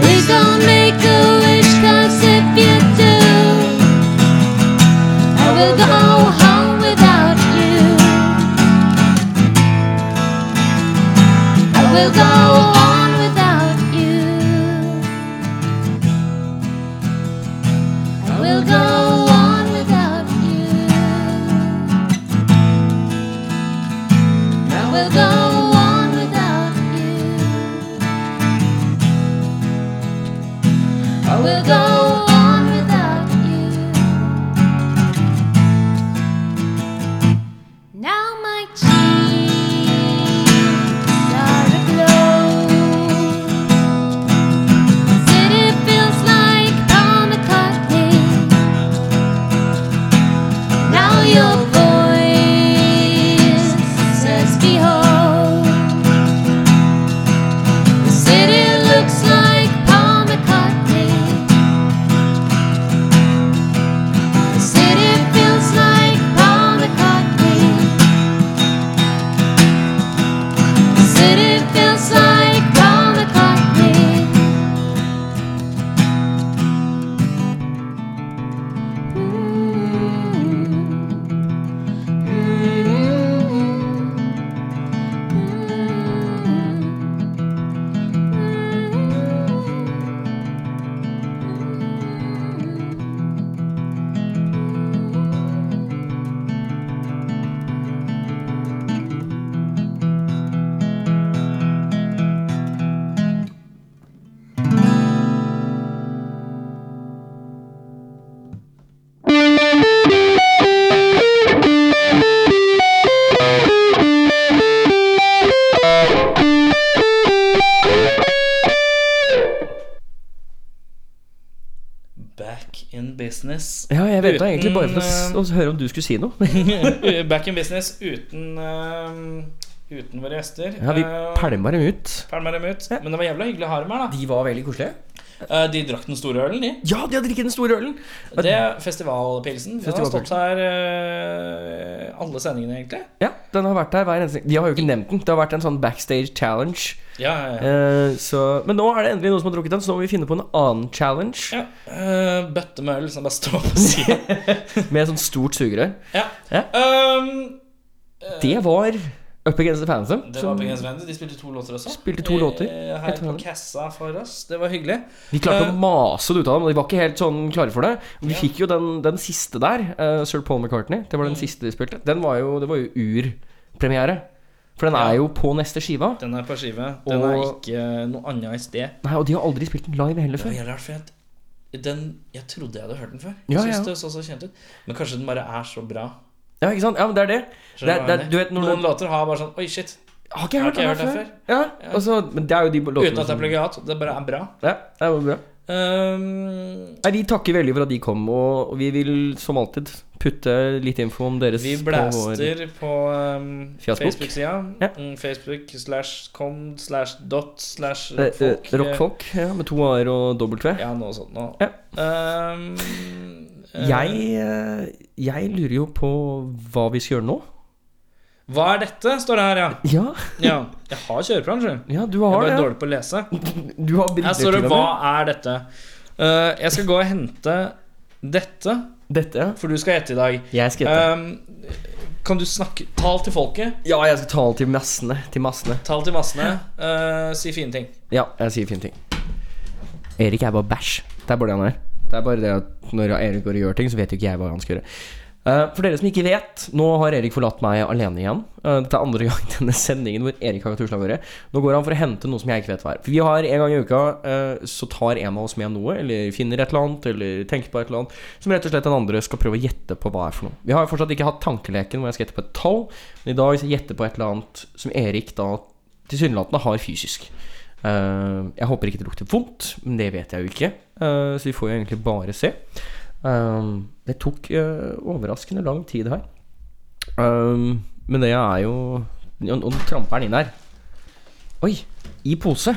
Please don't make a wish, 'cause if you do, I will go home without you. I will go on without you. I will go on without you. I will go on without you. I will go on without you. Mm-hmm. business. Ja, jeg venta egentlig bare for å, s- Uten, å høre om du skulle si noe. <laughs> <laughs> Back in business uten, eh, uten våre gjester. Ja, vi Eh, pælma dem ut. pælma dem ut. Men det var jævla hyggelig å ha dem her. da De var veldig koselige. Eh, De drakk den store ølen, de. Ja, de har drikket den store ølen! Det er festivalpilsen. Den har Festivalpilsen. stått her eh, alle sendingene, egentlig. Ja, den har vært der hver eneste De har jo ikke nevnt den. Det har vært en sånn backstage challenge. Ja, ja, ja. Eh, så, men nå er det endelig noen som har drukket den, så nå må vi finne på en annen challenge ja. eh, bøtte med øl som bare står på sida. <laughs> med sånn stort sugerør. ja. Ja. Um, Det var Up Against the Fansum. det var Pengens Venner. De spilte to låter også. Spilte to låter. Eh, Helt Her på vanlig. kassa for oss. Det var hyggelig. Vi klarte Eh. å mase det ut av dem, og de var ikke helt sånn klare for det. Vi Ja. fikk jo den, den siste der, eh, Sir Paul McCartney. Det var Mm. den siste de spilte. Den var jo, det var jo urpremiere. For den er jo på neste skiva. Den er på skive. Den er Og- ikke noe annet i sted. Nei, Og de har aldri spilt den live heller Det var før. jævlig rart, for jeg, den, jeg trodde jeg hadde hørt den før. Ja, Jeg synes ja. det så så kjent ut Men kanskje den bare er så bra. Ja, ikke sant? Ja, men det er det. Skjønner det, er, hva det er, jeg mener? du vet, når Noen du, låter har bare sånn Oi, shit. har ikke jeg hørt Har den ikke jeg her hørt før? den Ja, altså, men det er jo de låtene Uten at det er plagiat. Det bare er bra. Ja, det er jo bra. Um, Nei, Vi takker veldig for at de kom, og vi vil som alltid putte litt info om deres vi på vår blaster på um, Facebook. Facebook-sida. Ja. Mm, Facebook slash com slash dot slash Eh, eh, rockfolk. Rockfolk, ja, med to a-er og dobbelt v. Ja, noe sånt noe. Ja. Um, eh, Jeg, eh, jeg lurer jo på hva vi skal gjøre nå. Hva er dette? står det her, ja. Ja, ja. Jeg har kjøreplan, sjø. ja du Jeg har er bare det. dårlig på å lese. <laughs> Du har bilder Her står til det og 'Hva med. er dette?' Eh, jeg skal gå og hente dette, Dette, ja. for du skal gjette i dag. Jeg skal hete. Eh, kan du snakke Tal til folket. ja, jeg skal tale til massene. Til massene. Tal til massene. eh, si fine ting. Ja, jeg sier fine ting. Erik er bare bæsj. Det er bare det han er. Det er bare det at når Erik går og gjør ting, så vet jo ikke jeg hva han skal gjøre. Eh, for dere som ikke vet, nå har Erik forlatt meg alene igjen. Eh, dette er andre <laughs> gang i denne sendingen hvor Erik har katuslavøret. Nå går han for å hente noe som jeg ikke vet hva er. For vi har en gang i uka eh, så tar en av oss med noe, eller finner et eller annet, eller tenker på et eller annet, som rett og slett den andre skal prøve å gjette på hva er for noe. Vi har jo fortsatt ikke hatt tankeleken hvor jeg skal gjette på et tall, men i dag skal jeg gjette på et eller annet som Erik da tilsynelatende har fysisk. Eh, jeg håper ikke det lukter vondt, men det vet jeg jo ikke. Eh, så vi får jo egentlig bare se. Eh, det tok eh, overraskende lang tid her. Eh, men det er jo ja, Nå tramper den inn her. Oi! I pose.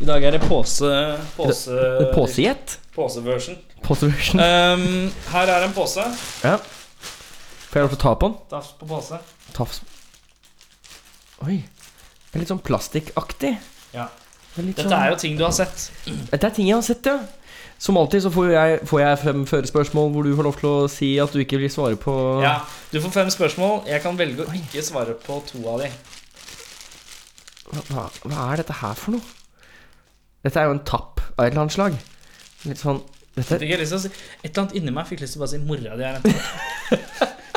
I dag er det pose... Pose... Posejet. Poseversion. Poseversion. Um, her er en pose. Ja. Får jeg lov til å ta på den? Tafs på pose. Tafs. Oi. Det er litt sånn plastikkaktig. Ja. Det er litt Dette sånn- er jo ting du har sett. Dette er ting jeg har sett, ja. Som alltid så får jeg, får jeg fremføre spørsmål hvor du får lov til å si at du ikke vil svare på Ja, Du får fem spørsmål. Jeg kan velge å ikke svare på to av de. hva, hva, hva er dette her for noe? Dette er jo en tapp av et eller annet slag. Litt sånn dette, Fikk jeg lyst til å si Et eller annet inni meg fikk lyst til å bare si 'mora di er en tapp'.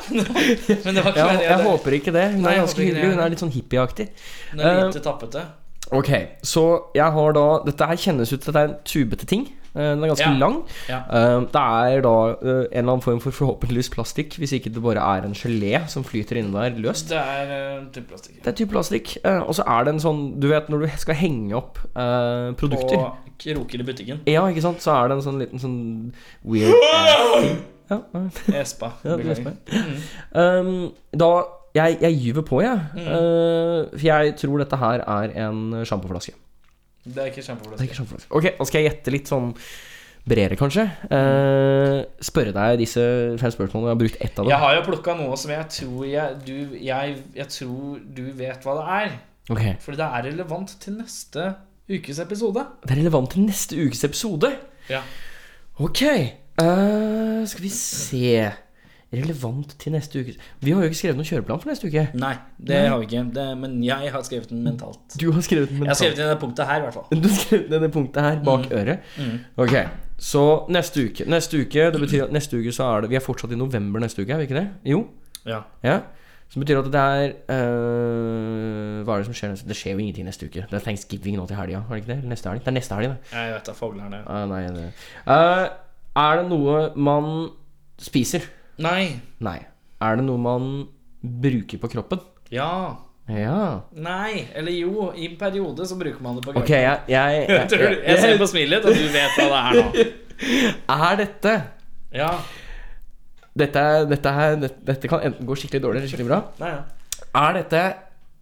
<laughs> Men det ja, var ikke det. jeg håper ikke det. Hun Nei, er jeg ganske håper ikke det. hyggelig. Hun er litt Eh, sånn hippieaktig. Den er lite tappete. Ok, så jeg har da Dette her kjennes ut til at det er en tubete ting. Eh, Den er ganske Ja. lang. Ja. Eh, Det er da eh, en eller annen form for forhåpentligvis plastikk, hvis ikke det bare er en gelé som flyter inni der løst. Det er eh, type plastikk. Det er type plastikk. eh, Og så er det en sånn Du vet når du skal henge opp eh, produkter Og kroker i butikken. Ja, ikke sant? Så er det en sånn liten sånn weird ass ting. Ja, ja. Espa. Ja, det beklager. Um, da Jeg, jeg gyver på, jeg. Mm. Eh, for jeg tror dette her er en sjampoflaske. det er ikke Det er kjempeflaske. ikke sjampoflaske. Ok, da skal jeg gjette litt sånn bredere, kanskje. Eh, spørre deg disse fem spørsmålene. Jeg har brukt ett av Jeg dem. har jo plukka noe som jeg tror jeg, du, jeg, jeg tror du vet hva det er. Ok For det er relevant til neste ukes episode. Det er relevant til neste ukes episode. Ja. Ok. eh, skal vi se Relevant til neste uke Vi har jo ikke skrevet noen kjøreplan for neste uke. Nei, det har vi ikke. Det, men jeg har skrevet den mentalt. Du har skrevet den Jeg har mentalt. skrevet den i det punktet her, i hvert <laughs> fall. Du har skrevet ned det punktet her bak Mm. øret. Ok, så neste uke. Neste uke, det betyr at neste uke så er det Vi er fortsatt i november neste uke, er vi ikke det? Jo. Ja. Ja. Som betyr at det er eh, Hva er det som skjer neste Det skjer jo ingenting neste uke. Det er thanksgiving nå til helga, er det ikke det? Eller neste helg? Det er neste helg, det. Jeg vet da foglerne. Ah, nei, det. Eh, er det noe man spiser? Nei. Nei. Er det noe man bruker på kroppen? Ja. Ja. Nei. Eller jo, i en periode så bruker man det på <laughs> Ok, jeg, jeg, jeg, <laughs> Jeg, jeg, jeg ser på smilet ditt, og du vet hva det er nå. Er dette Ja. dette, er- dette, er- dette kan enten gå skikkelig dårlig eller skikkelig bra. Nei, ja. Er dette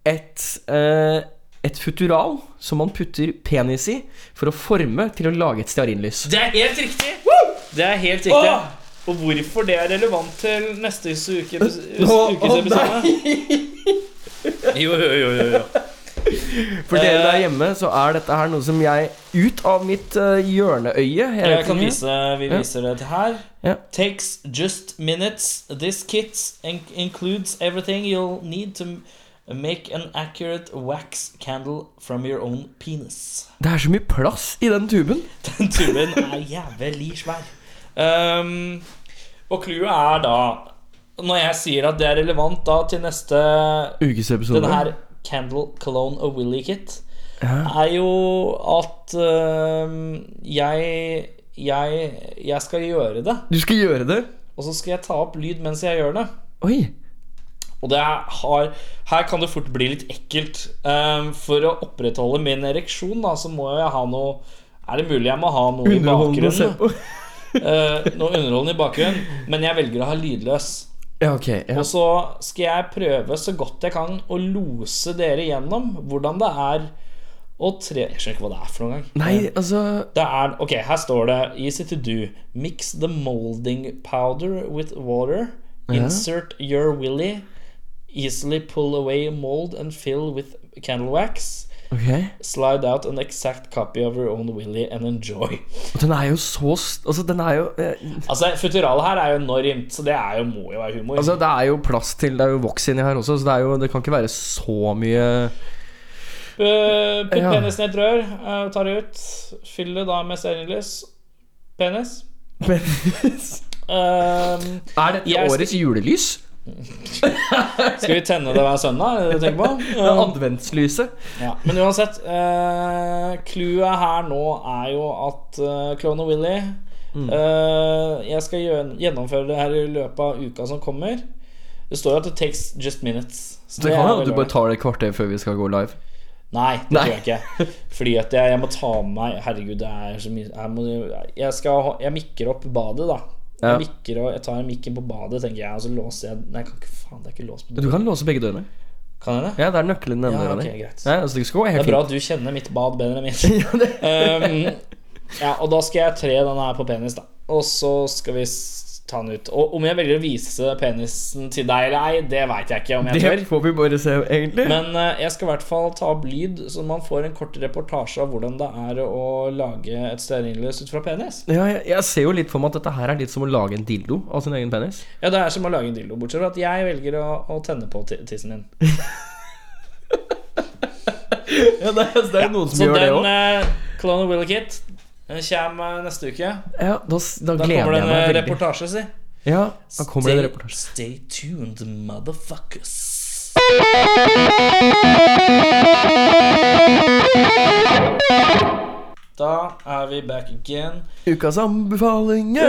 et, eh, et futural som man putter penis i for å forme til å lage et stearinlys? Det er helt riktig! Det er helt riktig. Og hvorfor det er relevant til neste uke, ukes episode? Jo, jo, jo, jo, Eh. jo. <laughs> For dere der hjemme så er dette her noe som jeg ut av mitt eh, hjørneøye jeg Jeg vet kan ikke. vise, Vi Ja. viser det her. Ja. Takes just minutes. This kit in- includes everything you'll need to make an accurate wax candle from your own penis. <laughs> Det er så mye plass i den tuben. Den tuben er jævlig svær. Um, og clouet er da Når jeg sier at det er relevant da til neste Ukesepisode. Denne her Candle Cologne og Willy Kit er jo at um, jeg, jeg Jeg skal gjøre det. Du skal gjøre det. Og så skal jeg ta opp lyd mens jeg gjør det. Oi. Og det er- har, her kan det fort bli litt ekkelt. Ehm, for å opprettholde min ereksjon, da, så må jeg ha noe Er det mulig jeg må ha noe i Underholdende å se bakgrunnen? på. Eh, noe underholdende i bakgrunnen, men jeg velger å ha lydløs. Ja, ok. Ja. Og så skal jeg prøve så godt jeg kan å lose dere gjennom hvordan det er å tre Jeg skjønner ikke hva det er for noen gang. Eh, Nei, altså Det er, ok, her står det Easy to do Mix the molding powder with water Insert your willy Easily pull away mold And fill with candle wax Ok. Slide out an exact copy of your own willy And enjoy Og den er jo så st Altså, den er jo eh, Altså, futuralet her er jo enormt Så det er jo, må jo være humor Altså, det er jo plass til Det er jo voks inni her også, så det, er jo, det kan ikke være så mye Eh, Putt Ja. penisen i et rør eh, Ta det ut Fyll det da med stearinlys Penis Ehm, Er dette Jeg skal- årets julelys? <laughs> Skal vi tenne det hver søndag? Er det det du tenker på? Det er Eh, Adventslyset? Ja, men uansett eh, Clouet her nå er jo at eh, Clone og Willy Mm. eh, Jeg skal gjø- gjennomføre det her i løpet av uka som kommer. Det står jo at det takes just minutes. Så Det det kan er hende vel du bare ålreit. tar det et kvarter før vi skal gå live. Nei, det Nei. tror jeg ikke. Fordi at jeg, jeg må ta med meg Herregud, det er så mye jeg, må, jeg, skal, ha- jeg mikker opp badet, da. Ja. Jeg, mikker og, jeg tar mikken på badet, tenker jeg, og så låser jeg Nei, jeg kan ikke, faen, det er ikke låst på Du kan låse begge dørene. Kan jeg det? Ja, det er nøkkelen i den Ja, døra ok, di. greit. Ja, altså, det skal gå Det helt er bra fint. at du kjenner mitt bad bedre <laughs> enn mitt. Ehm, ja, og da skal jeg tre den her på penis, da. Og så skal vi s- ta den ut. Og om jeg velger å vise penisen til deg eller ei, det veit jeg ikke om jeg Det tør. får vi bare se, egentlig. Men eh, jeg skal i hvert fall ta opp lyd, så man får en kort reportasje av hvordan det er å lage et stearinlys ut fra penis. Ja, jeg, jeg ser jo litt for meg at dette her er litt som å lage en dildo av sin egen penis. Ja, det er som å lage en dildo, bortsett fra at jeg velger å, å tenne på ti- tissen din. <laughs> Ja, det er, noen Så den eh, Clone of Willy Kit den kommer eh, neste uke. Ja, da, s- da eh, Da kommer gleder det jeg meg en veldig. reportasje, si. Ja, da kommer det en Stay- reportasje. Stay tuned, motherfuckers. Da er vi back again. Ukas anbefalinger!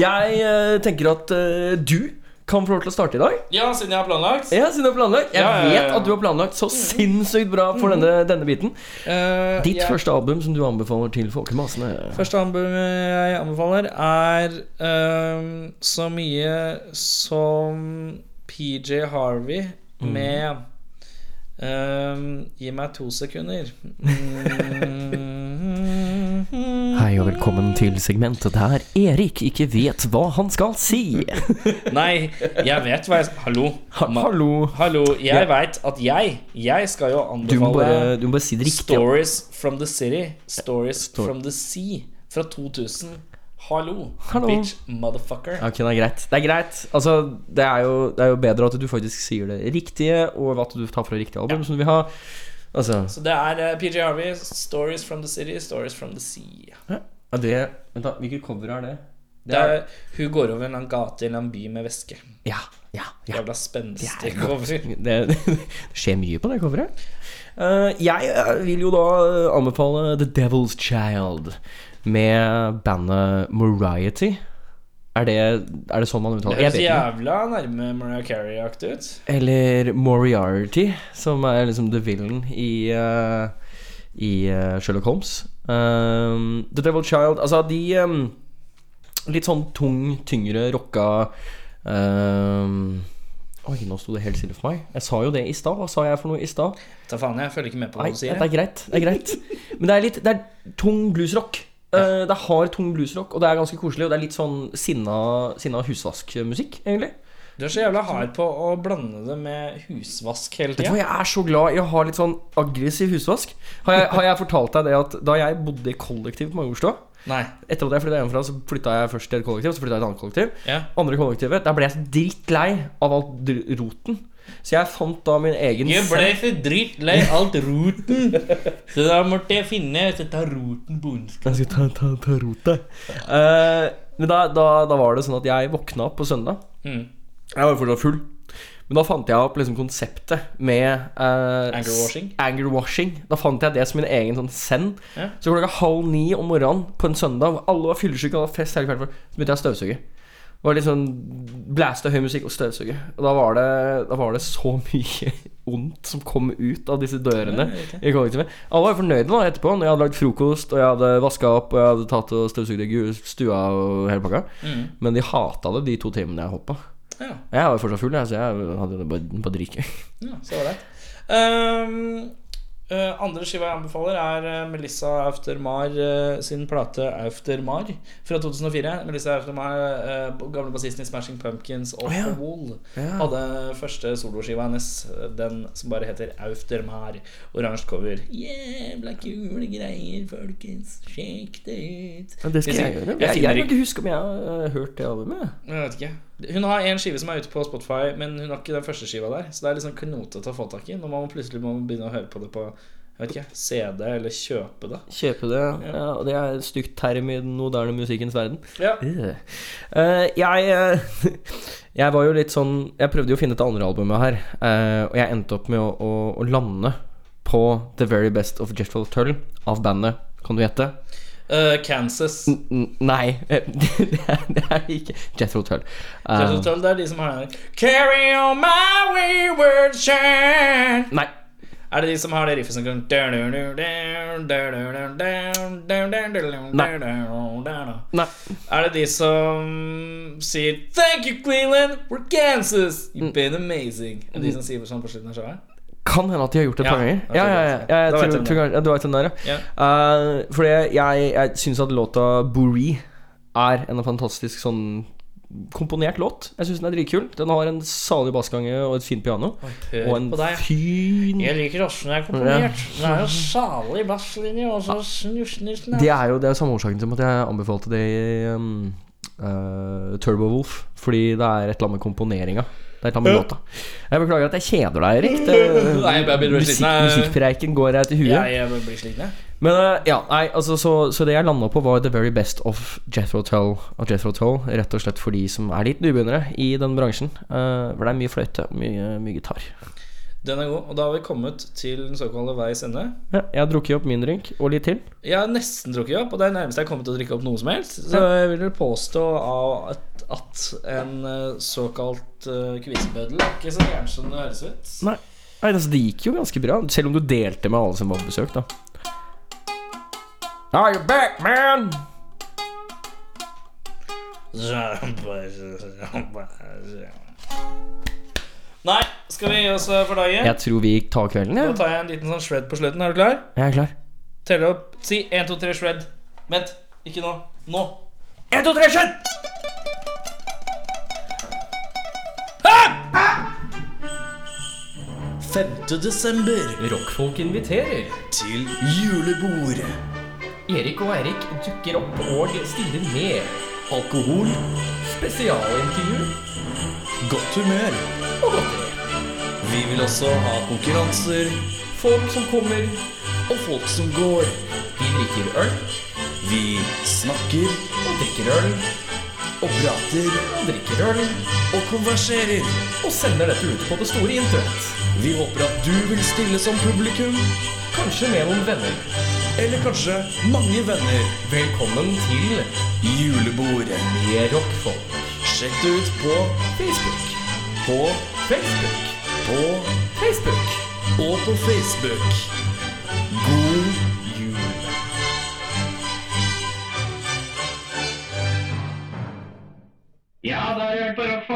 Jeg eh, tenker at eh, du kan få lov til å starte i dag. Ja, siden jeg har planlagt. Ja, siden du har planlagt. Jeg Ja, ja, ja, ja. vet at du har planlagt så sinnssykt bra for denne, denne biten. Eh, Ditt jeg- første album som du anbefaler til folkemassene. Første album jeg anbefaler, er ehm, så mye som PJ Harvey Mm. med ehm, Gi meg to sekunder. Mm. Hei og velkommen til segmentet der Erik ikke vet hva han skal si. <laughs> Nei, jeg vet hva jeg Hallo. Ma- Hallo. Hallo, jeg veit at jeg Jeg skal jo Du må bare, anbefale du må bare si det riktig. Stories from the City, Stories from the Sea fra 2000. Hallo, Hallo. bitch motherfucker. <laughs> Ok, det er greit. Det er greit. Altså, det er, jo, det er jo bedre at du faktisk sier det riktige, og at du tar fra riktig album som du vil ha. Altså, Så det er eh, PJ Harvey, 'Stories from the City, Stories from the Sea'. ja, det Vent, da. Hvilket cover er det? Det er, hun går over en eller annen gate i en eller annen by med væske. Ja, ja, ja. Jævla spenstig cover. Det, <laughs> det skjer mye på det coveret. Eh, jeg eh, vil jo da eh, anbefale The Devil's Child med bandet Moriety. Er det, er det sånn man Det uttaler Jeg høres vet ikke. jævla nærme Mariah Carey-aktig ut. Eller Moriarty, som er liksom the villain i, eh, i eh, Sherlock Holmes. Um, The Devil Child Altså, de um, litt sånn tung, tyngre rocka um, Oi, nå sto det helt stille for meg. Jeg sa jo det i stad. Hva sa jeg for noe i stad? Ta faen, jeg følger ikke med på hva Nei, du sier. det er greit. Det er <laughs> greit. Men det er litt Det er tung bluesrock. Eh, det er hard, tung bluesrock, og det er ganske koselig. Og det er litt sånn sinna, sinna husvaskmusikk, egentlig. Du er så jævla hard på å blande det med husvask hele Vet du hva, tida. Jeg er så glad i å ha litt sånn aggressiv husvask. Har jeg, har jeg fortalt deg det at da jeg bodde i kollektiv på Majorstua Nei. Etter at jeg flytta hjemmefra, så flytta jeg først til et kollektiv, så flytta jeg til et annet kollektiv. Ja. Andre kollektivet, Der ble jeg så drittlei av alt dr- roten. Så jeg fant da min egen Jeg ble selv- så dritlei alt roten, <laughs> så da måtte jeg finne Så ta roten på onsdag. Jeg skal ta, ta, ta rota. Eh, men da, da, da var det sånn at jeg våkna opp på søndag. Mm. Jeg var jo fortsatt full. Men da fant jeg opp liksom konseptet med eh, Anger washing? s- anger washing. Da fant jeg det som min egen sånn send. Ja. Så klokka halv ni om morgenen på en søndag, hvor alle var fyllesyke og hadde fest hele kvelden, så begynte jeg å støvsuge. Det var litt sånn Blæste høy musikk og støvsuge. Og da var det, da var det så <laughs> mye ondt som kom ut av disse dørene <laughs> i kollektivet. Alle var jo fornøyde da etterpå, når jeg hadde lagd frokost, og jeg hadde vaska opp, og jeg hadde tatt og støvsugd i gu- stua og hele pakka. Men de hata det de to timene jeg hoppa. Ja. Jeg var jo fortsatt full, jeg, så jeg hadde jo bare, bare drikke. Ja, så var det. Ehm, eh, andre skiva jeg anbefaler, er eh, Melissa Aftermar eh, sin plate Aftermar fra 2004. Melissa Aftermar, eh, gamle bassisten i Smashing Pumpkins og Å, ja. The Wall, Ja. hadde første soloskiva hennes, eh, den som bare heter Aftermar. Oransje cover. Jævla kule greier, folkens. Sjekk det ut. Men det skal jeg, gjøre. Jeg, jeg finner kan ikke huske om jeg har eh, hørt det albumet. jeg vet ikke. Hun har en skive som er ute på Spotify, men hun har ikke den første skiva der. Så det er liksom knotete å få tak i når man plutselig må begynne å høre på det på jeg vet ikke, CD eller kjøpe det. Kjøpe det. Ja, og det er et stygt term i den moderne musikkens verden. Ja. Øh. Eh, jeg, eh, <laughs> jeg var jo litt sånn Jeg prøvde jo å finne et andre albumet her, eh, og jeg endte opp med å, å, å lande på The Very Best of Jetfall Tull av bandet. Kan du gjette? Eh, Kansas. N n- nei. <laughs> eh, Det er, det er ikke Jethro Tull. Eh, Turtle Tull, Det er de som har den der. Carry on my wayward shine. nei. Er det de som har det riffet som går Nei. Er det de som sier Thank you, Cleveland, we're Kansas, Mm. you've been amazing? Er det de som sier sånn på slutten av showet? Kan hende at de har gjort det et Ja, par ganger. jeg tror Ja, ja, ja. Jeg det. Da vet tror, jeg hvem tror det er. kanskje, ja, du vet den der, Ja. Eh, fordi jeg, jeg syns at låta 'Boree' er en fantastisk sånn komponert låt. Jeg syns den er dritkul. Den har en salig bassgange og et fint piano. hør og en på deg. fin Jeg liker åssen det er komponert. Det er jo salig basslinje og så snusnissen Det er jo det er samme årsaken som at jeg anbefalte det i um, eh, Turbo Wolf. Fordi det er et eller annet med komponeringa. Det er et eller annet med låta. Jeg beklager at jeg kjeder deg, <laughs> Erik. Det- Nei, jeg blir sliten, musikk, jeg- musikkpreiken går deg til huet. Jeg, jeg blir sliten, jeg. Men eh, ja, nei, altså så, så det jeg landa på, var The Very Best of Jethro Tull. Og Jethro Tull rett og slett for de som er litt nybegynnere i den bransjen. eh, for det er mye fløyte og mye, mye gitar. Den er god. Og da har vi kommet til den såkalte veis ende. Ja, jeg har drukket opp min drink og litt til. Jeg har nesten drukket opp, og det er nærmest jeg har kommet til å drikke opp noe som helst. Så jeg vil vel påstå at, at en eh, såkalt uh, kvisebøddel er ikke så gæren som det høres ut. Nei, nei altså, det gikk jo ganske bra. Selv om du delte med alle som var på besøk, da. Are you back, man? Nei, skal vi gi oss eh, for dagen? Jeg tror vi tar kvelden, Da jeg. tar jeg en liten sånn shred på slutten. Er du klar? Jeg er klar. Telle opp. Si 1, 2, 3, shred. Vent. Ikke nå. Nå. 1, 2, 3, shred! Rockfolk inviterer. Til julebord. Erik og Eirik dukker opp og stiller med. Alkohol. Spesialintervju. Godt humør. Vi vil også ha konkurranser. Folk som kommer Og folk som går. Vi drikker øl Vi snakker og drikker øl og prater og drikker øl og konverserer. og sender dette ut på det store internett. Vi håper at du vil stille som publikum. Kanskje med noen venner. Eller kanskje mange venner. Velkommen til Julebordet. Med rockfolk. Sjekk det ut på Facebook. på Facebook. på Facebook. og på Facebook. God jul. da er det bare å få